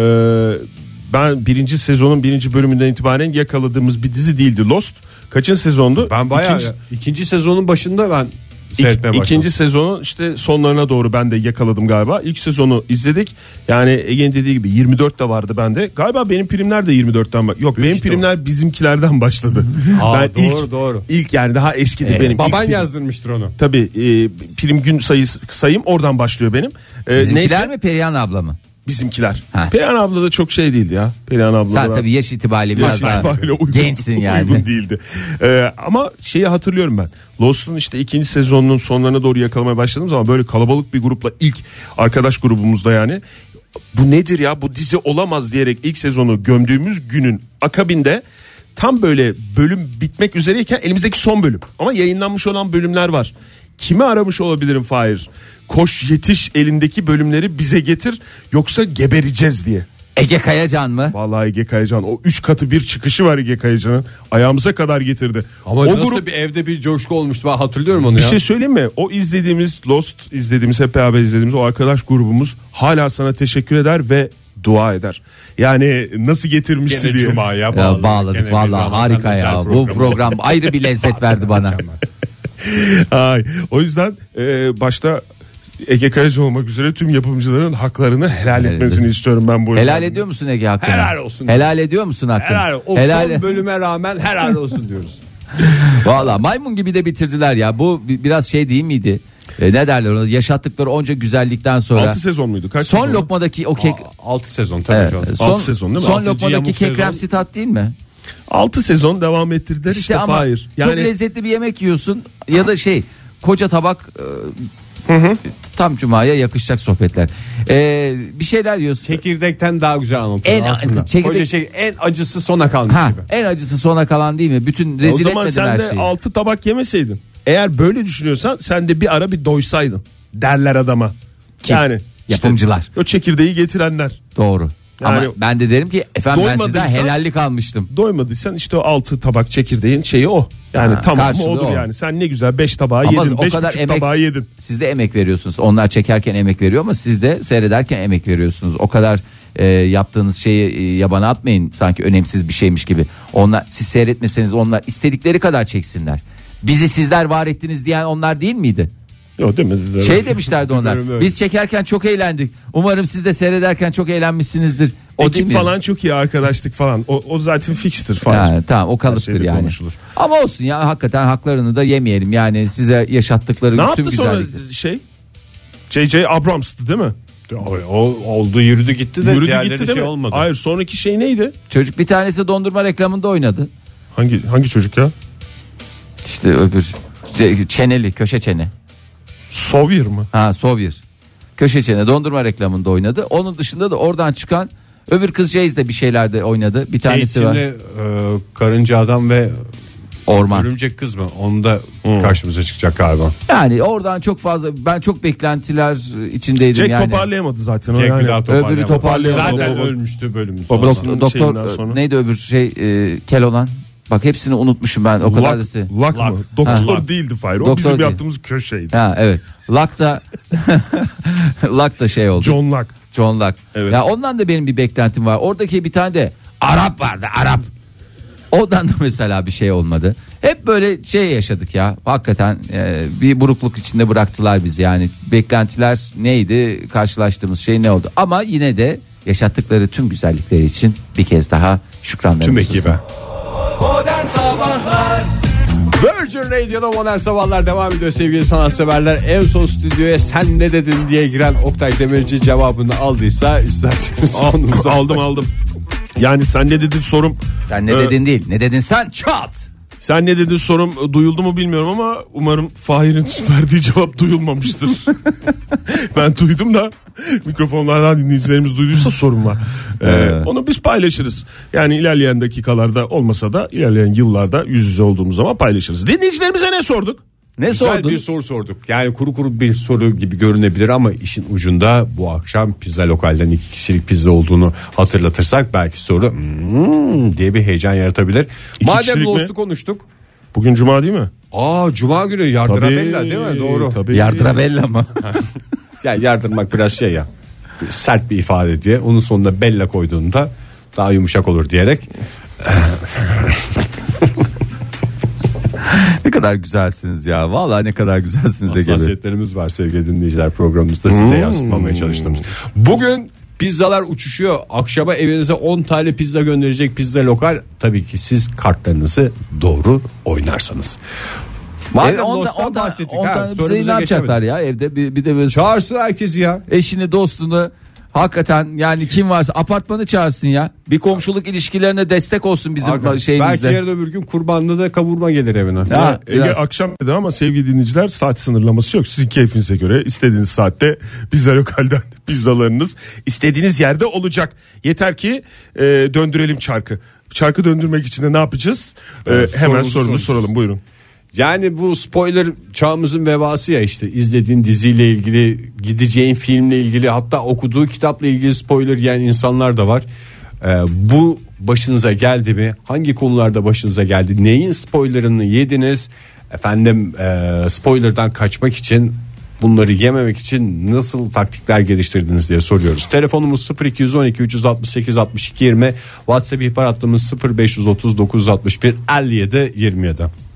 ben birinci sezonun birinci bölümünden itibaren yakaladığımız bir dizi değildi Lost. Kaçıncı sezondu?
Ben bayağı
İkinci-
ikinci, sezonun başında ben
İk-
seyretmeye başladım.
İkinci sezonu işte sonlarına doğru ben de yakaladım galiba. İlk sezonu izledik. Yani Ege'nin dediği gibi 24 de vardı bende. Galiba benim primler de 24'ten bak. Yok benim
ihtimal.
primler bizimkilerden başladı.
Aa,
Ben
doğru,
ilk,
doğru. Ee,
İlk yani daha eskidi benim. İlk
Baban
prim-
yazdırmıştır onu.
Tabii e, prim gün sayısı sayım oradan başlıyor benim. E,
Bizimkiler
neyse.
mi Perihan abla mı?
bizimkiler.
Ha.
Perihan abla da çok şey değildi ya. Perihan abla
Sen
da-
tabii yaş itibariyle
Yaş
biraz daha
itibariyle uygun-
gençsin yani.
Uygun değildi. Ee, ama şeyi hatırlıyorum ben. Lost'un işte ikinci sezonunun sonlarına doğru yakalamaya başladığım zaman böyle kalabalık bir grupla ilk arkadaş grubumuzda yani bu nedir ya bu dizi olamaz diyerek ilk sezonu gömdüğümüz günün akabinde tam böyle bölüm bitmek üzereyken elimizdeki son bölüm ama yayınlanmış olan bölümler var. Kimi aramış olabilirim Fahir? Koş yetiş elindeki bölümleri bize getir yoksa gebereceğiz diye.
Ege Kayacan mı?
Vallahi Ege Kayacan o 3 katı bir çıkışı var Ege Kayacan'ın. Ayağımıza kadar getirdi.
Ama
o
nasıl
grup
bir evde bir coşku olmuştu ben hatırlıyorum onu
bir
ya.
şey söyleyeyim mi? O izlediğimiz Lost izlediğimiz hep beraber izlediğimiz o arkadaş grubumuz hala sana teşekkür eder ve dua eder. Yani nasıl getirmişti
Gene
diye.
Cuma'ya
Ya
bağladık.
bağladık
Gene
valla
bir
harika
Ramazan
ya
özel
bu
programı.
program ayrı bir lezzet verdi bana.
Ay, o yüzden e, başta Ege Kayacan olmak üzere tüm yapımcıların haklarını helal
Helal
etmesini
etmesin.
istiyorum ben bu yüzden.
Helal ediyor musun Ege hakkını?
Helal olsun.
Helal ediyor musun hakkını?
Helal, o son bölüme rağmen helal olsun diyoruz.
Valla maymun gibi de bitirdiler ya bu bi- biraz şey değil miydi? E, ne derler ona yaşattıkları onca güzellikten sonra.
6 sezon muydu? Kaç
Son
sezon?
lokmadaki o kek.
6 sezon tabii
Evet,
canım.
son,
altı sezon değil mi?
son
Altıncı
lokmadaki
yamuk
kekrem
sezon.
sitat değil mi?
6 sezon devam ettirdiler işte,
İşte ama
Fahir.
çok lezzetli bir yemek yiyorsun ya da şey koca tabak e, tam cumaya yakışacak sohbetler. E, bir şeyler yiyorsun.
Çekirdekten daha güzel anlatıyor
En-
aslında.
çekirdek-
Koca şey en acısı sona kalmış
Ha,
gibi.
en acısı sona kalan değil mi? Bütün
O
rezil
zaman
etmedin
sen
her
de
şeyi.
6 tabak yemeseydin. Eğer böyle düşünüyorsan sen de bir ara bir doysaydın derler adama. Yani işte
Yapımcılar.
o çekirdeği getirenler.
Doğru.
Yani-
Ama ben de derim ki efendim ben sizden
Doymadıysan-
helallik almıştım.
Doymadıysan işte o 6 tabak çekirdeğin şeyi o. Yani
Ha,
tamam mı
karşılığı
olur
o.
yani. Sen ne güzel 5 tabağı
Ama
yedin.
o
5
kadar
buçuk
emek-
tabağı yedin.
Siz de emek veriyorsunuz. Onlar çekerken emek veriyor ama siz de seyrederken emek veriyorsunuz. O kadar e, yaptığınız şeyi e, yabana atmayın sanki önemsiz bir şeymiş gibi. Onlar siz seyretmeseniz onlar istedikleri kadar çeksinler. Bizi sizler var ettiniz diyen onlar değil miydi?
Yok değil mi?
Şey demişlerdi
Bilmiyorum,
onlar.
öyle.
Biz çekerken çok eğlendik. Umarım siz de seyrederken çok eğlenmişsinizdir. O
Ekim
değil miydi?
E, falan çok iyi arkadaşlık falan. O, o zaten fixtir falan.
Ha, tamam o kalıptır
şeyde
yani.
konuşulur.
Ama olsun ya hakikaten haklarını da yemeyelim. Yani size yaşattıkları
Ne
tüm
yaptı sonra
güzellikleri.
şey? JJ Abrams'tı değil mi?
O oldu yürüdü gitti de
Yürüdü
diğerleri
gitti
şey
değil mi?
olmadı.
Hayır sonraki şey neydi?
Çocuk bir tanesi dondurma reklamında oynadı.
Hangi hangi çocuk ya?
İşte öbür ce- çeneli köşe çene.
Sawyer mı?
Ha Sovyer. Köşe çene dondurma reklamında oynadı. Onun dışında da oradan çıkan öbür kızcağız da bir şeylerde oynadı. Bir tanesi
Eğitimli
var.
e, karınca adam ve
Orman.
örümcek kız mı? Onu da karşımıza çıkacak galiba.
Yani oradan çok fazla ben çok beklentiler içindeydim
Jack
yani.
toparlayamadı zaten. hani. o
Jack
yani.
bir daha toparlayamadı.
öbürü toparlayamadı.
Zaten
Baba-
ölmüştü bölümün
Baba-
sonunda.
Babasının
Dok- doktor
şeyinden sonra.
neydi öbür şey e, kel olan. Bak hepsini unutmuşum ben o kadar da
Lak,
se-
lak mı?
Lak.
Doktor
Ha.
değildi Fahir. O
Doktor
bizim
değil.
yaptığımız köşeydi.
Ha evet. Lak da Lak da şey oldu.
John Lak.
John Locke.
Evet.
Ya ondan da benim bir beklentim var. Oradaki bir tane de Arap vardı Arap. Ondan da mesela bir şey olmadı. Hep böyle şey yaşadık ya. Hakikaten e, bir burukluk içinde bıraktılar bizi yani. Beklentiler neydi? Karşılaştığımız şey ne oldu? Ama yine de yaşattıkları tüm güzellikleri için bir kez daha şükranlarımızı.
Tüm ekibe.
Modern Sabahlar
Virgin Radio'da modern sabahlar devam ediyor sevgili sanatseverler. En son stüdyoya sen ne dedin diye giren Oktay Demirci cevabını aldıysa isterseniz
Ah,
konumuza
aldım aldım. Yani sen ne dedin sorum.
Sen ne
Ee,
dedin değil. Ne dedin sen? Çat.
Sen ne dedin sorum e, duyuldu mu bilmiyorum ama umarım Fahir'in verdiği cevap duyulmamıştır. ben duydum da mikrofonlardan dinleyicilerimiz duyduysa sorun var. Ee, onu biz paylaşırız. Yani ilerleyen dakikalarda olmasa da ilerleyen yıllarda yüz yüze olduğumuz zaman paylaşırız. Dinleyicilerimize ne sorduk?
Ne
Güzel
sordun?
bir soru sorduk. Yani kuru kuru bir soru gibi görünebilir ama işin ucunda bu akşam pizza lokalden iki kişilik pizza olduğunu hatırlatırsak belki soru "Hmm" diye bir heyecan yaratabilir.
Madem
kişilik
Lost'u
mi?
konuştuk.
Bugün cuma değil mi?
Aa cuma günü Yardırabella değil mi? Doğru.
Tabii.
Yardırabella mı?
Yani yardırmak biraz şey ya sert bir ifade diye onun sonuna bella koyduğunda daha yumuşak olur diyerek
ne kadar güzelsiniz ya. Vallahi ne kadar güzelsiniz Ege Bey.
hassasiyetlerimiz var sevgili dinleyiciler programımızda size yansıtmamaya çalıştığımız.
Bugün
Pizzalar uçuşuyor. Akşama evinize 10 tane pizza gönderecek pizza lokal. Tabii ki siz kartlarınızı doğru oynarsanız.
Evet,
madem
onda-
Lost'tan
onda-
bahsettik.
onda
ha,
bize
sorumuza
ne yapacaklar
geçemedik.
ya evde bir, bir de böyle
Çağırsın herkesi ya.
eşini dostunu Hakikaten yani kim varsa apartmanı çağırsın ya. Bir komşuluk ilişkilerine destek olsun bizim şeyimizde.
Belki yarın öbür gün kurbanlı da kavurma gelir evine.
Şey Ha,
Ege
biraz.
akşam dedi ama sevgili dinleyiciler saat sınırlaması yok. Sizin keyfinize göre istediğiniz saatte pizza lokalden pizzalarınız istediğiniz yerde olacak. Yeter ki e, döndürelim çarkı. Çarkı döndürmek için de ne yapacağız? E, hemen
sorumuzu
sorunu
soracağız.
soralım buyurun.
Yani bu spoiler çağımızın vebası ya işte izlediğin diziyle ilgili, gideceğin filmle ilgili hatta okuduğu kitapla ilgili spoiler yiyen insanlar da var. Ee, bu başınıza geldi mi? Hangi konularda başınıza geldi? Neyin spoilerını yediniz? Efendim e, spoilerdan kaçmak için bunları yememek için nasıl taktikler geliştirdiniz diye soruyoruz. Telefonumuz 0212 368 62 20 WhatsApp ihbar hattımız 0530 961 57 27.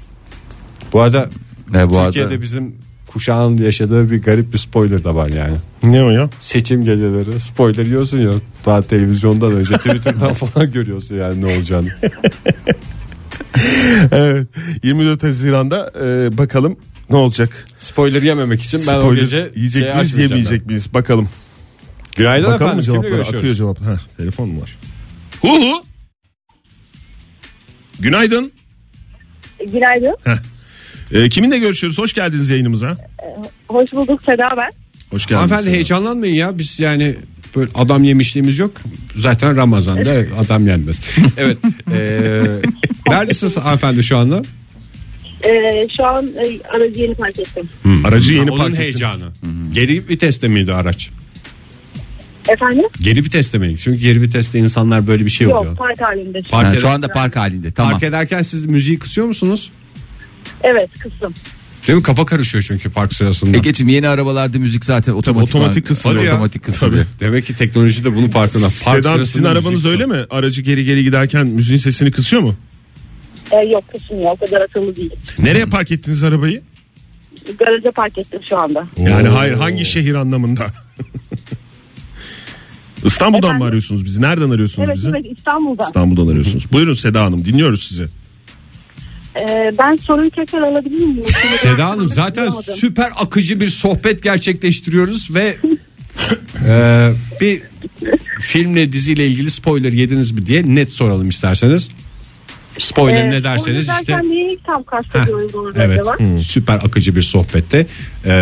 Bu arada
Ne bu arada?
Türkiye'de bizim kuşağın yaşadığı bir garip bir spoiler da var yani.
Ne o ya?
Seçim geceleri spoiler yiyorsun ya daha televizyondan önce Twitter'dan falan görüyorsun yani ne olacağını.
Evet. 24 Haziran'da e, bakalım ne olacak?
Spoiler yememek için ben o
Spoiler
gece
yiyecek
şeyi
miyiz
açmayacağım
yemeyecek miyiz? Bakalım.
ben. Günaydın
Bakalım mı
efendim kimle
cevaplara?
görüşüyoruz?
Akıyor cevap. Ha, telefon mu var? Hu hu. Günaydın.
Günaydın.
E, kiminle görüşüyoruz? Hoş geldiniz yayınımıza.
Hoş bulduk Seda ben.
Hoş geldiniz.
Hanımefendi heyecanlanmayın ya biz yani böyle adam yemişliğimiz yok. Zaten Ramazan'da adam yenmez. evet. Ee, neredesiniz hanımefendi şu anda?
Ee, şu an e, aracı yeni fark ettim.
Aracı yeni park
Onun
ettiniz.
heyecanı. Geri viteste miydi araç?
Efendim?
Geri viteste miydi? Çünkü geri viteste insanlar böyle bir şey oluyor.
Yok park halinde. şu an.
Park,
Yani
eder-
şu anda park halinde tamam. E,
park ederken siz müziği kısıyor musunuz?
Evet kızım.
Değil mi? Kafa karışıyor çünkü park sırasında.
Ege'cim yeni arabalarda müzik zaten otomatik
otomatik kısılıyor.
Tabii Otomatik kısılıyor.
Demek ki teknoloji de bunun farkında. Park
Sedan sizin
sırasında
arabanız
müzik-
öyle mi? Aracı geri geri giderken müziğin sesini kısıyor mu?
Ee, yok kızım ya o kadar akıllı değil.
Nereye park ettiniz arabayı?
Garaja park ettim şu anda.
Yani hayır hangi şehir anlamında? İstanbul'dan mı
Efendim?
arıyorsunuz bizi? Nereden arıyorsunuz
Evet
bizi?
evet İstanbul'da.
İstanbul'dan arıyorsunuz. Buyurun Seda Hanım dinliyoruz sizi.
Ee, ben soruyu tekrar alabilir miyim?
Seda Hanım zaten
Anlamadım.
süper akıcı bir sohbet gerçekleştiriyoruz ve eee, bir filmle diziyle ilgili spoiler yediniz mi diye net soralım isterseniz. Spoiler
Ee,
ne derseniz
soruyu
işte
derken neyi tam kastediyoruz orada
evet
acaba?
Hmm.
süper akıcı bir sohbette. Eee,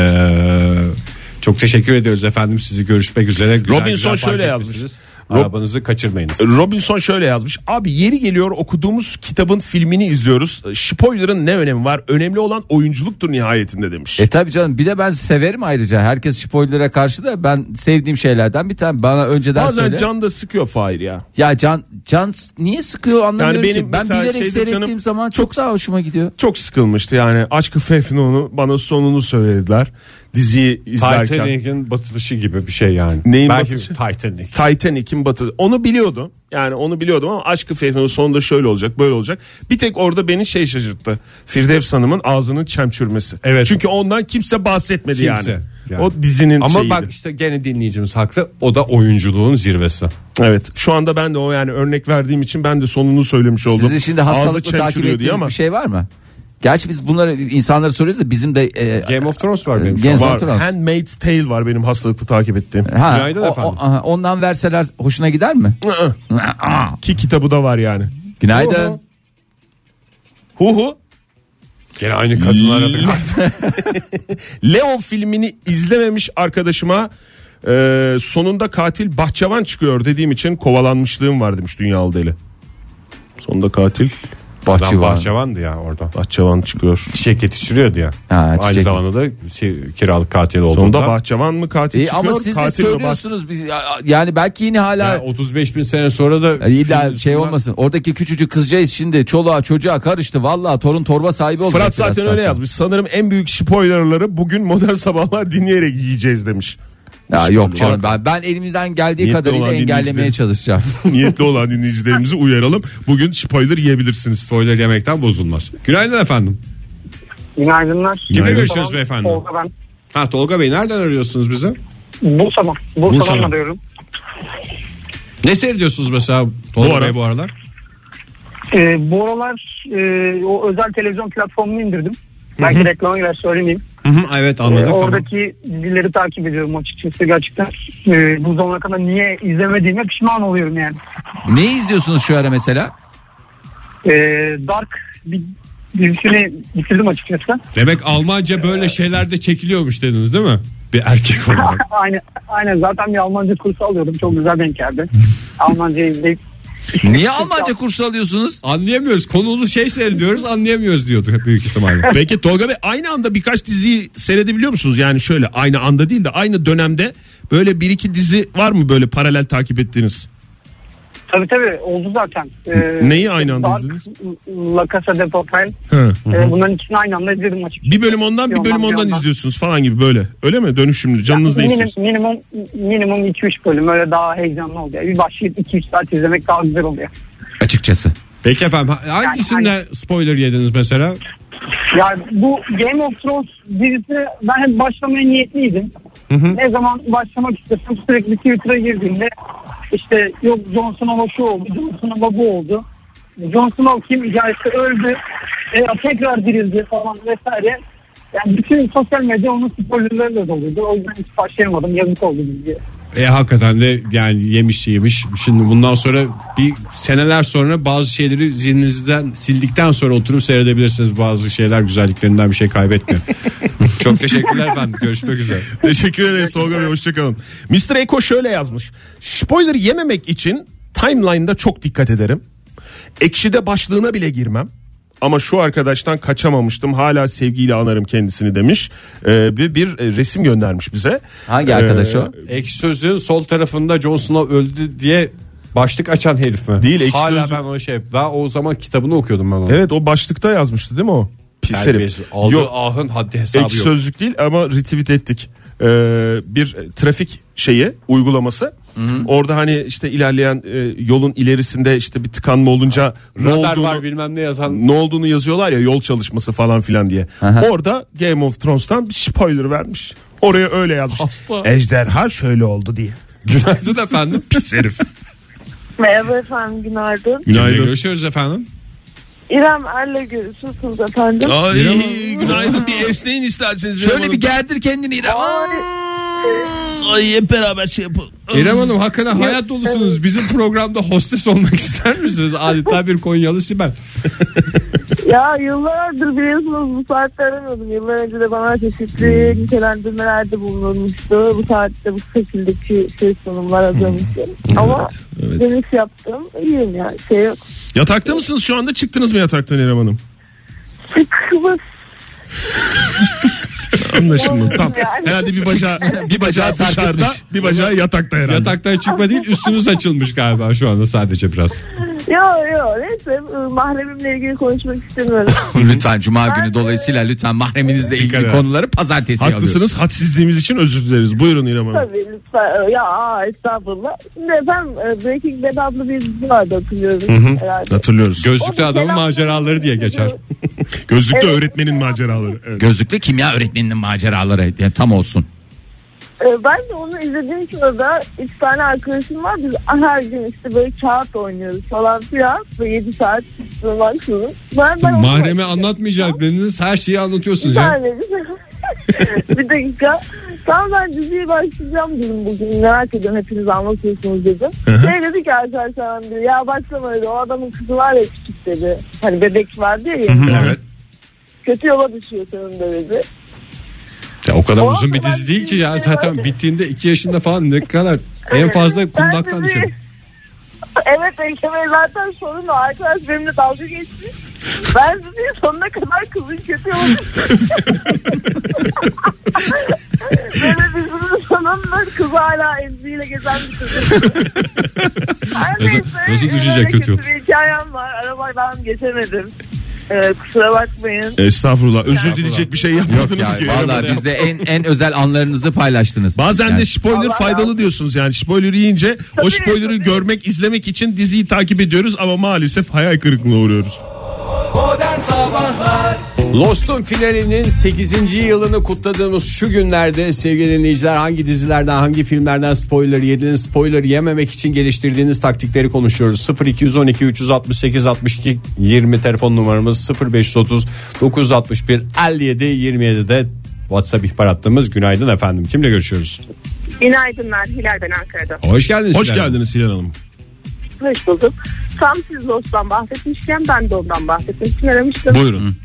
Ee,
çok teşekkür ediyoruz efendim sizi görüşmek üzere. Güzel,
Robinson
güzel fark
şöyle yazmış.
etmişsiniz.
Rob-
Arabanızı kaçırmayınız.
Robinson şöyle yazmış. Abi yeri geliyor okuduğumuz kitabın filmini izliyoruz. Ee, Spoiler'ın ne önemi var? Önemli olan oyunculuktur nihayetinde demiş.
E tabii canım bir de ben severim ayrıca. Herkes spoiler'a karşı da ben sevdiğim şeylerden bir tane bana önceden
Bazen
söyle.
can da sıkıyor Fahir ya.
Ya can can niye sıkıyor anlamıyorum
Yani benim
ki. Ben
mesela
bilerek
şeyde
seyrettiğim
canım
zaman çok, daha hoşuma gidiyor.
Çok sıkılmıştı yani. Aşkı Fefnun'u bana sonunu söylediler. Diziyi izlerken.
Titanic'in batılışı gibi bir şey yani.
Neyin
Belki
batışı?
Titanic.
Titanic'in batı. Onu biliyordum. Yani onu biliyordum ama Aşkı Feyzan'ın sonunda şöyle olacak böyle olacak. Bir tek orada beni şey şaşırttı. Firdevs Hanım'ın ağzının çemçürmesi.
Evet.
Çünkü ondan kimse bahsetmedi
Kimse.
yani.
Yani.
O dizinin
Ama
şeyiydi.
bak işte gene dinleyicimiz haklı. O da oyunculuğun zirvesi.
Evet. Şu anda ben de o yani örnek verdiğim için ben de sonunu söylemiş oldum.
Sizin şimdi hastalıklı takip ettiğiniz bir şey var mı? Gerçi biz bunları insanlara soruyoruz da bizim de e,
Game of Thrones var benim.
Game of
şu an.
var.
Zantros.
Handmaid's Tale var benim hastalıklı takip ettiğim.
şey ha,
Günaydın efendim.
aha, ondan verseler hoşuna gider mi?
Ki kitabı da var yani.
Günaydın.
Hu hu.
Gene aynı kadınlar aradık.
Leon filmini izlememiş arkadaşıma e, sonunda katil bahçıvan çıkıyor dediğim için kovalanmışlığım var demiş Dünyalı Deli. Sonunda katil
Lan
Bahçıvan.
bahçevandı ya orada.
bahçıvan çıkıyor.
Çiçek yetiştiriyordu ya.
Ha,
Aynı
çiçek.
zamanda da şey, kiralık katil
Sonunda
olduğunda.
bahçıvan mı katil
E,
çıkıyor?
ama siz de
katil mi
söylüyorsunuz biz- yani belki yine hala
Ya 35 bin sene sonra da
Ya İlla
film
şey
yüzünden-
olmasın. Oradaki küçücük kızcağız şimdi çoluğa çocuğa karıştı. Vallahi torun torba sahibi oldu.
bah- Fırat zaten öyle yazmış. Sanırım en büyük spoilerları bugün modern sabahlar dinleyerek yiyeceğiz demiş.
Ya yok canım ben, ben elimizden geldiği
Niyetli
kadarıyla
olan
engellemeye
dinleyicilerin.
çalışacağım.
Niyetli olan dinleyicilerimizi uyaralım. Bugün spoiler yiyebilirsiniz.
Spoiler yemekten bozulmaz. Günaydın efendim.
Günaydınlar.
Kimle
Günaydın.
görüşüyoruz beyefendi?
Tolga ben.
Ha Tolga Bey nereden arıyorsunuz bizi?
Bursa'dan. Bursa'dan,
Bursa'dan.
arıyorum.
Ne seyrediyorsunuz mesela Tolga
Bu ara.
Bey bu aralar?
e, Ee, bu aralar e, o özel televizyon platformunu indirdim. Belki reklamı biraz söylemeyeyim.
Hı hı, evet
Ee,
anladık. tamam.
oradaki dizileri takip ediyorum açıkçası gerçekten. Ee, bu zamana kadar niye izlemediğime pişman oluyorum yani.
Ne izliyorsunuz şu ara mesela?
Ee, Dark bir dizisini bitirdim açıkçası.
Demek Almanca böyle şeylerde çekiliyormuş dediniz değil mi? Bir er- erkek olarak.
Aynen, aynen zaten bir Almanca kursu alıyordum. Çok güzel denk geldi. Almanca izleyip.
Niye Almanca kursu alıyorsunuz?
Anlayamıyoruz. Konulu şey seyrediyoruz anlayamıyoruz diyordu büyük ihtimalle.
Peki Tolga Bey aynı anda birkaç diziyi seyredebiliyor musunuz? Yani şöyle aynı anda değil de aynı dönemde böyle bir iki dizi var mı böyle paralel takip ettiğiniz?
Tabii tabii oldu zaten. Ee,
Neyi aynı anda
Dark,
izlediniz?
La Casa de Papel.
Hı.
Ee, bunların ikisini aynı anda izledim açıkçası.
Bir bölüm ondan bir bölüm ondan izliyorsunuz falan gibi böyle. Öyle mi? Dönüşümlü canınız ne
Minim,
istiyorsunuz?
minimum minimum 2-3 bölüm öyle daha heyecanlı oluyor. Bir başlayıp 2-3 saat izlemek daha güzel oluyor.
Açıkçası.
Peki efendim ha- hangisinde spoiler yediniz mesela?
Yani bu Game of Thrones dizisi ben hep başlamaya niyetliydim. Ne zaman başlamak istedim sürekli Twitter'a girdiğimde işte yok Jon Snow'a şu oldu, Jon Snow'a bu oldu. Jon Snow kim hikayesi öldü, e, tekrar dirildi falan vesaire. Yani bütün sosyal medya onun spoilerlarıyla doluydu. O yüzden hiç başlayamadım. Yazık oldu diziye.
E hakikaten de yani yemiş yemiş. Şimdi bundan sonra bir seneler sonra bazı şeyleri zihninizden sildikten sonra oturup seyredebilirsiniz. Bazı şeyler güzelliklerinden bir şey kaybetmiyor. Çok teşekkürler efendim. Görüşmek üzere.
Teşekkür ederiz Tolga Bey hoşçakalın. Mr. Eko şöyle yazmış. Spoiler yememek için timeline'da çok dikkat ederim. Ekşi'de başlığına bile girmem. Ama şu arkadaştan kaçamamıştım. Hala sevgiyle anarım kendisini demiş. Ee, bir, bir e, resim göndermiş bize. Ee,
Hangi arkadaş o?
Ekşi Sözlüğün sol tarafında Jon Snow öldü diye başlık açan herif mi?
Değil, Ekşi
Hala
Sözlük-
ben o şey daha o zaman kitabını okuyordum ben onu.
Evet o başlıkta yazmıştı değil mi o? Pis herif.
Terbiyesiz. Aldığı
Yok,
ahın haddi hesabı
Ek
yok.
sözlük değil ama retweet ettik. Ee, bir trafik şeyi uygulaması. Orada hani işte ilerleyen e, yolun ilerisinde işte bir tıkanma olunca ne
Radar
olduğunu,
var bilmem ne yazan.
ne olduğunu yazıyorlar ya yol çalışması falan filan diye. Orada Game of Thrones'tan bir spoiler vermiş. Oraya öyle yazmış.
Hasta.
Ejderha şöyle oldu diye.
Günaydın efendim. Pis herif.
Merhaba efendim günaydın.
Günaydın. Görüşürüz efendim.
İrem Er'le görüşürsünüz efendim.
Ay, günaydın bir esneyin isterseniz.
Şöyle bir gerdir kendini İrem.
Ay hep beraber şey yapalım.
İrem Hanım hakikaten hayat dolusunuz. Bizim programda hostes olmak ister misiniz? Adeta bir Konyalı Sibel.
Ya yıllardır biliyorsunuz bu saatte aramıyordum. Yıllar önce de bana çeşitli
Hmm.
nitelendirmelerde bulunulmuştu. Bu saatte bu şekildeki şey
Hmm.
sunumlar hazırlamıştım. Ama dönüş yaptım. İyiyim ya şey yok.
Yatakta mısınız şu anda çıktınız mı yataktan İrem Hanım?
Çıkmış
Anlaşılmadı. Tamam.
yani.
Herhalde bir bacağı bir bacağı dışarıda, bir bacağı yatakta herhalde.
Yataktan çıkma değil üstünüz açılmış galiba şu anda sadece biraz.
Yo yo neyse ıı, mahremimle ilgili konuşmak istemiyorum.
lütfen cuma günü dolayısıyla lütfen mahreminizle ilgili
Dikkat et.
konuları pazartesi alıyorum.
Haklısınız. Hadsizliğimiz için özür dileriz. Buyurun İrem Hanım.
Tabii lütfen. Ya aa, estağfurullah. Şimdi efendim e, Breaking Bad adlı bir dizi vardı hatırlıyorum herhalde.
Hatırlıyoruz.
Gözlükte
O da
adamın
selam-
maceraları diye geçer.
Gözlükte
Evet.
öğretmenin maceraları. Evet.
Gözlüklü kimya öğretmeninin maceraları yani tam olsun.
E, ben de onu izlediğim için orada üç tane arkadaşım var. Biz her gün işte böyle kağıt oynuyoruz falan filan. Ve 7 saat durmaksızın. Ben, ben onu
Mahremi
oynuyorum.
anlatmayacaklarınız her şeyi anlatıyorsunuz
Bir
ya.
saniye. bir dakika. Tam ben diziye başlayacağım dedim bugün. Merak ediyorum hepiniz anlatıyorsunuz dedim. Şey dedi ki arkadaşlar ben diyor. Ya başlama dedi. O adamın kızı var ya küçük dedi. Hani bebek vardı ya. yanında.
Evet.
Kötü yola düşüyor sonunda dedi.
Ya o kadar
O
uzun bir
kadar
dizi değil ki
bir
ya
dizi
zaten
var.
bittiğinde 2 yaşında falan ne kadar en fazla kundaktan
Ben de
düşer.
bir- Evet Ege Bey zaten sorun o. Arkadaş benimle dalga geçti. Ben sizi sonuna kadar kızın kötü yola Böyle dizinin sonunda kız hala emziğiyle gezen bir kız. Her
Nasıl-
neyse,
nasıl
öyle
düşecek kötü yola?
bir hikayem var. Arabaydan geçemedim. Ee, kusura bakmayın.
Estağfurullah. Özür dileyecek bir şey yapmadınız
Yani
ki. İrem
vallahi
Hanım.
bizde en en özel anlarınızı paylaştınız.
Bazen
Yani
de spoiler
Allah
faydalı diyorsunuz yani spoiler yiyince o
Tabii,
spoiler'ı
tabii.
görmek izlemek için diziyi takip ediyoruz ama maalesef hayal kırıklığına uğruyoruz.
Modern Sabahlar
Lost'un finalinin 8. yılını kutladığımız şu günlerde sevgili dinleyiciler hangi dizilerden hangi filmlerden spoiler yediniz spoiler yememek için geliştirdiğiniz taktikleri konuşuyoruz. 0212 368 62 20 telefon numaramız 0530 961 57 27'de WhatsApp ihbar hattımız. Günaydın efendim. Kimle görüşüyoruz?
Günaydın ben Hilal ben Ankara'da.
Hoş geldiniz.
Hoş
Hilal Hanım.
geldiniz Hilal Hanım.
Hoş bulduk. Tam siz dosttan bahsetmişken ben de ondan bahsettim. Kim aramıştım?
Buyurun.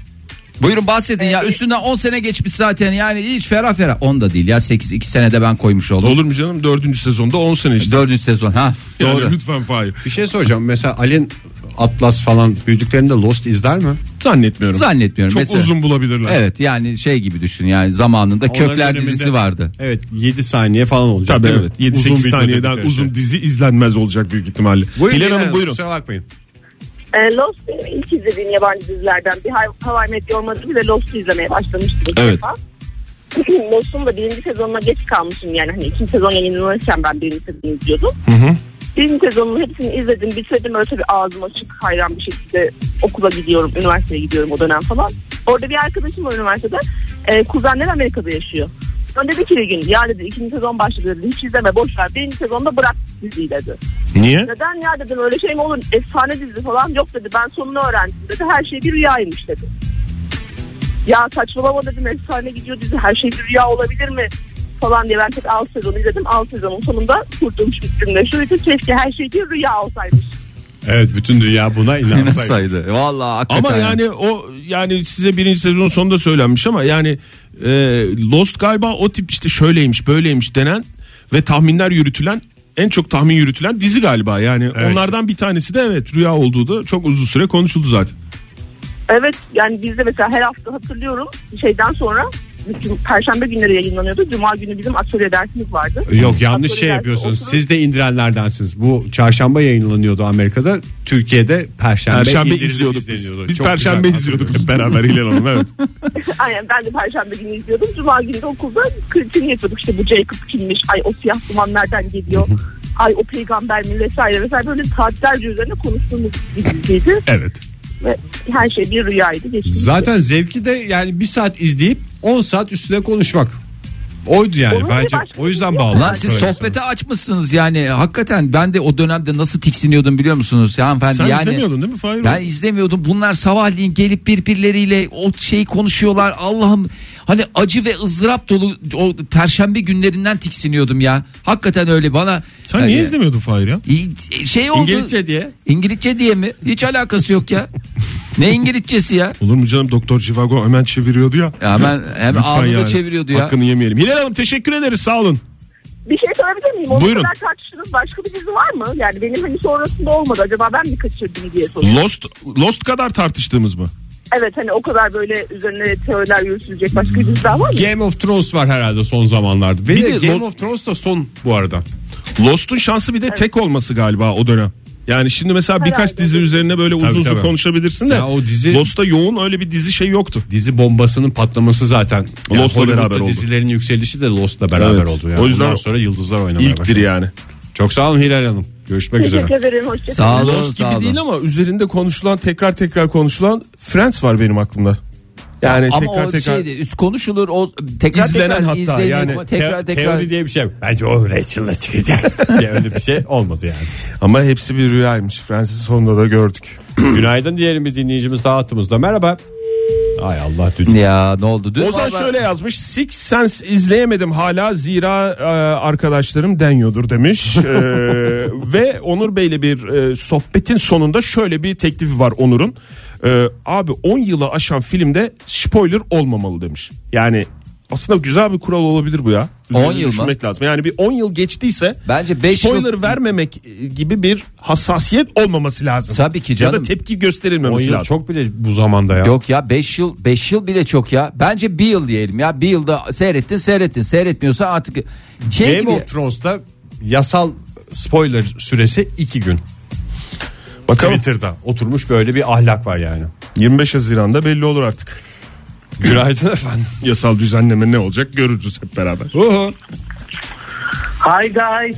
Buyurun bahsedin ya üstünden 10 sene geçmiş zaten yani hiç ferah ferah 10 da değil ya 8 2 senede ben koymuş oldum.
Olur mu canım? Dördüncü sezonda 10 sene işte.
4. sezon ha
Yani
doğru.
lütfen Fahir.
Bir şey soracağım. Mesela Alin Atlas falan büyüdüklerinde Lost izler mi?
Zannetmiyorum.
Zannetmiyorum
Çok
mesela.
uzun bulabilirler.
Evet yani şey gibi düşün yani zamanında Kökler
döneminde-
dizisi vardı.
Evet 7 saniye falan olacak.
Tabii
değil mi?
evet. 7
Uzun
8
bir
saniyeden
dönemde.
uzun dizi izlenmez olacak büyük ihtimalle.
Buyurun,
Hilal Hanım buyurun.
Kusura bakmayın.
Ee, Lost benim ilk izlediğim yabancı dizilerden. Bir Hay- Hawaii Meteor Mother'ı ve Lost'u izlemeye başlamıştım. ilk
Evet.
defa. Lost'un da birinci sezonuna geç kalmışım yani. Hani ikinci sezon yayınlanırken ben birinci sezonu izliyordum. Birinci sezonun hepsini izledim, bitirdim. Öyle tabii ağzım açık, hayran bir şekilde okula gidiyorum, üniversiteye gidiyorum o dönem falan. Orada bir arkadaşım var üniversitede. Ee, kuzenler Amerika'da yaşıyor. Ben dedi ki bir gün, ya dedi ikinci sezon başladı dedi. Hiç izleme boş ver. Birinci sezonda bırak diziyi dedi.
Niye?
Neden ya dedim öyle şey mi olur efsane dizi falan yok dedi ben sonunu öğrendim dedi her şey bir rüyaymış dedi. Ya saçmalama dedim efsane gidiyor dizi her şey bir rüya olabilir mi falan diye ben tek 6 sezonu izledim 6 sezonun sonunda kurtulmuş bittim de şöyle keşke her şey bir rüya olsaymış.
Evet bütün dünya buna inansaydı.
saydı? Vallahi hakikaten.
Ama yani o yani size birinci sezonun sonunda söylenmiş ama yani e, Lost galiba o tip işte şöyleymiş böyleymiş denen ve tahminler yürütülen en çok tahmin yürütülen dizi galiba yani onlardan bir tanesi de evet rüya olduğu da çok uzun süre konuşuldu zaten.
Evet yani biz de mesela her hafta hatırlıyorum şeyden sonra bütün perşembe günleri yayınlanıyordu cuma günü bizim atölye dersimiz vardı.
Yok yanlış
Atölye
şey
dersi
yapıyorsunuz.
oturup-
Siz de indirenlerdensiniz. Bu çarşamba yayınlanıyordu Amerika'da. Türkiye'de perşembe,
Perşembe
indirilip
izliyorduk biz.
izleniyordu.
Biz
Çok
perşembe
güzel
izliyorduk hep beraber Hilal Hanım evet.
Aynen ben de perşembe günü izliyordum. Cuma günü de okulda kritiğini yapıyorduk. İşte bu Jacob kimmiş, ay o siyah duman nereden geliyor, ay o peygamber mi vesaire vesaire. Böyle saatlerce üzerine konuştuğumuz bir diziydi.
evet.
Ve her şey bir rüyaydı. Geçti.
Zaten zevki de yani bir saat izleyip 10 saat üstüne konuşmak. Oydu yani
Onun bir
bence.
başka
O yüzden
bir- şey?
bağlı.
Lan siz sohbete açmışsınız yani hakikaten ben de o dönemde nasıl tiksiniyordum biliyor musunuz ya hanımefendi
Sen
yani.
izlemiyordun değil mi Fahir?
Ben izlemiyordum. Bunlar sabahleyin gelip birbirleriyle o şey konuşuyorlar. Allah'ım hani acı ve ızdırap dolu o perşembe günlerinden tiksiniyordum ya. Hakikaten öyle bana.
Sen
hani-
niye izlemiyordun Fahir ya?
İ- Şey oldu.
İngilizce diye.
İngilizce diye mi? Hiç alakası yok ya. ne İngilizcesi ya?
Olur mu canım Doktor Civago hemen çeviriyordu ya.
Ya ben hem
Lütfen
anında
yani.
çeviriyordu ya.
Hakkını yemeyelim. Hilal Hanım teşekkür ederiz sağ olun.
Bir şey sorabilir miyim? Onu
Buyurun.
kadar tartıştınız. Başka bir dizi var mı? Yani benim hani sonrasında olmadı. Acaba ben mi kaçırdım diye soruyorum.
Lost Lost kadar tartıştığımız mı?
Evet hani o kadar böyle üzerine teoriler yürütülecek başka bir dizi daha var mı?
Game of Thrones var herhalde son zamanlarda. Ve
Bir
de
de
Game
Lo-
of Thrones da son bu arada.
Lost'un şansı bir de tek olması galiba o dönem. Yani şimdi mesela birkaç
Herhalde.
dizi üzerine böyle uzun uzun
tabii.
konuşabilirsin de
Ya o dizi-
Lost'ta yoğun öyle bir dizi şey yoktu.
Dizi bombasının patlaması zaten.
Lost'la
Hollywood'da
beraber oldu.
Dizilerin yükselişi de Lost'la beraber
Evet.
oldu. Yani.
O yüzden
Ondan sonra yıldızlar oynamaya
İlktir
başladı.
yani.
Çok sağ olun Hilal Hanım. Görüşmek üzere.
Teşekkür ederim.
Sağ
Hoşçakalın.
olun,
Lost gibi
sağ olun.
değil ama üzerinde konuşulan tekrar tekrar konuşulan Friends var benim aklımda. Yani
Ama
tekrar
o
tekrar
şeydi, üst konuşulur o tekrar
İzlenen
tekrar
hatta
izleniyor,
yani.
tekrar
Te-
tekrar
Teori diye bir şey. Bence o Rachel'la çıkacak diye öyle bir şey olmadı yani.
ama hepsi bir rüyaymış. Friends'i sonunda da gördük.
Günaydın diyelim bir dinleyicimiz daha hattımızda. Merhaba. Ay Allah dün.
Ya ne oldu? Dün
Ozan
valla-
şöyle yazmış. Six Sense izleyemedim hala zira e, arkadaşlarım deniyordur demiş. E, ve Onur Bey'le bir e, sohbetin sonunda şöyle bir teklifi var Onur'un. E, abi 10 yılı aşan filmde spoiler olmamalı demiş. Yani aslında güzel bir kural olabilir bu ya.
10 yıl mı?
düşünmek lazım. Yani bir 10 yıl geçtiyse
Bence beş
spoiler
yıl-
vermemek gibi bir hassasiyet olmaması lazım.
Tabii ki
Ya da
canım.
tepki
10
gösterilmemesi
yıl
lazım.
çok bile bu zamanda ya.
Yok ya 5 yıl 5 yıl bile çok ya. Bence bir yıl diyelim ya. Bir yılda seyrettin seyrettin seyretmiyorsa artık şey
Game
gibi-
of Thrones'ta yasal spoiler süresi 2 gün.
Bakalım
Twitter'da oturmuş böyle bir ahlak var yani.
25 Haziran'da belli olur artık.
Günaydın efendim.
yasal düzenleme ne olacak görürüz hep beraber.
Hi guys.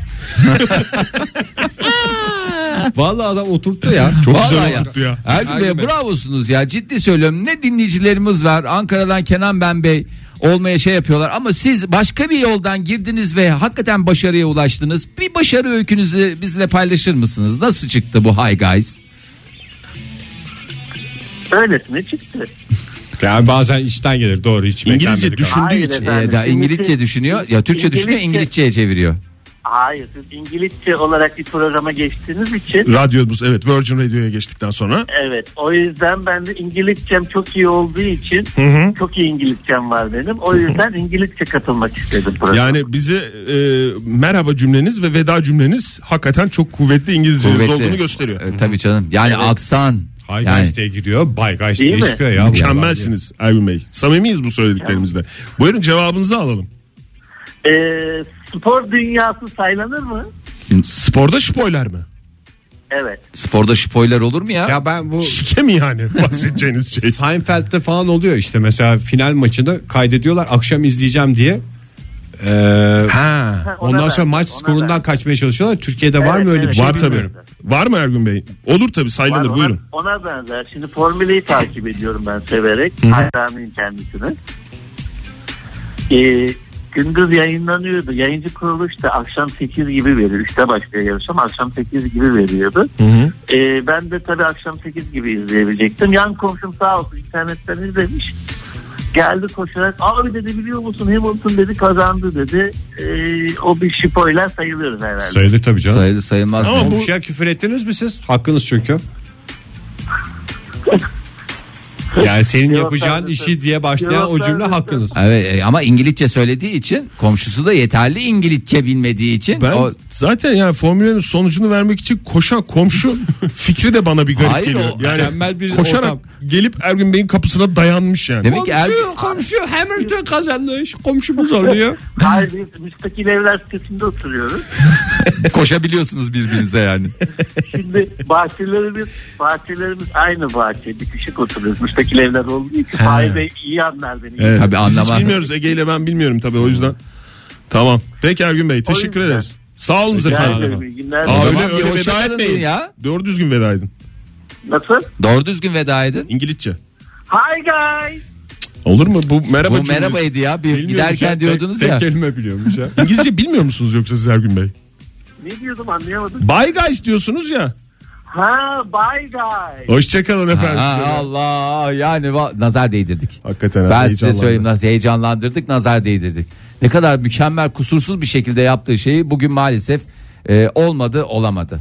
Vallahi adam oturttu ya.
Çok
Vallahi
güzel
ya.
oturttu ya.
Ergun Bey bravosunuz ya ciddi söylüyorum ne dinleyicilerimiz var Ankara'dan Kenan Ben Bey olmaya şey yapıyorlar ama siz başka bir yoldan girdiniz ve hakikaten başarıya ulaştınız. Bir başarı öykünüzü bizle paylaşır mısınız? Nasıl çıktı bu Hi Guys?
Öylesine çıktı.
Yani bazen işten gelir doğru hiç
İngilizce
beklenmedik ama.
düşündüğü
Hayır
için.
efendim,
Ee, daha İngilizce
İngilizce-
düşünüyor. Ya Türkçe düşünüyor
İngilizce-
İngilizceye çeviriyor.
Hayır siz İngilizce olarak bir programa geçtiğiniz için
Radyomuz evet Virgin Radio'ya geçtikten sonra.
evet o yüzden ben de İngilizcem çok iyi olduğu için çok iyi İngilizcem var benim. O yüzden İngilizce katılmak istedim programa.
Yani bizi e, merhaba cümleniz ve veda cümleniz hakikaten çok kuvvetli İngilizceniz
Kuvvetli.
olduğunu gösteriyor.
Ee, tabii canım. Yani aksan.
High
Yani,
Guys diye gidiyor, Bay Guys
Değil
diye
mi?
çıkıyor ya.
Mükemmelsiniz Ergun Bey. Samimiyiz bu söylediklerimizde. Buyurun cevabınızı alalım.
Ee, spor dünyası saylanır mı?
Sporda spoiler mı?
Evet.
sporda spoiler olur mu ya?
Ya ben bu
Şike mi yani bahsedeceğiniz şey?
Seinfeld'de falan oluyor işte mesela final maçını kaydediyorlar akşam izleyeceğim diye. Ee,
Ha.
ona
ondan
da,
sonra maç
ona
skorundan
da.
kaçmıyor çalışıyorlar. Türkiye'de var
Evet,
mı öyle
evet.
bir şey?
Var tabii.
bilmiyorum.
Var mı Ergun Bey? Olur tabii
Var,
saylanır
ona,
buyurun.
ona benzer. Şimdi Formula'yı takip ediyorum ben severek. Hayranıyım kendisine. Ee, gündüz yayınlanıyordu. Yayıncı kuruluş da akşam 8 gibi veriyor. 3'te başlıyor yarış ama akşam 8 gibi veriyordu. Ee, ben de tabii akşam 8 gibi izleyebilecektim. Yan komşum sağ olsun internetten izlemiş. Geldi koşarak abi dedi biliyor musun Hamilton dedi kazandı dedi. Ee, o bir şipoyla sayılıyoruz herhalde.
Sayılır tabii canım.
Sayılır sayılmaz
Ama
mı?
bu-
Komşuya şey küfür ettiniz mi siz? Hakkınız çünkü. Yani senin
Yok,
yapacağın
ben de-
işi diye başlayan
Yok,
o
ben
cümle
de-
hakkınız.
Evet, e, ama İngilizce söylediği için komşusu da yeterli İngilizce bilmediği için
Ben
o-
zaten yani formülün sonucunu vermek için koşan komşu fikri de bana bir garip
Hayır,
geliyor.
o
Yani
mükemmel bir
koşarak
ortam.
gelip Ergun Bey'in kapısına dayanmış yani.
Demek ki er-
komşu Hamilton kazandı. Şu Komşumuz oluyor.
Hayır biz müstakil evler sitesinde oturuyoruz.
koşabiliyorsunuz birbirinize yani.
Şimdi bahçelerimiz bahçelerimiz aynı bahçe bitişik oturuyoruz. Müstakil evler olduğu için Fahri Bey iyi anlar beni.
Evet,
Tabii
biz hiç
anlamam.
bilmiyoruz Ege ile ben bilmiyorum tabii o yüzden. Tamam. Peki Ergun Bey teşekkür
yüzden.
ederiz. Sağ olun
Rica
efendim.
ederim, iyi günler.
Aa, öyle
Tamam,
öyle
ya, hoşça
veda
kalın
etmeyin.
ya.
Doğru düzgün veda edin.
Nasıl?
Doğru düzgün veda edin.
İngilizce.
Hi guys.
Olur mu? Bu merhaba
Bu
cümlesi.
merhabaydı ya. Bir,
Bilmiyormuş
giderken
ya,
diyordunuz
tek-
ya.
tek kelime biliyormuş ya. İngilizce bilmiyor musunuz yoksa siz Ergun Bey?
Ne diyordum anlayamadım.
Bye guys diyorsunuz ya.
Ha bye guys.
Hoşçakalın efendim.
Ha, Allah yani va- nazar değdirdik.
Hakikaten
Ben
abi,
size
heyecanlandım.
söyleyeyim nasıl heyecanlandırdık nazar değdirdik. Ne kadar mükemmel kusursuz bir şekilde yaptığı şeyi bugün maalesef e, olmadı olamadı.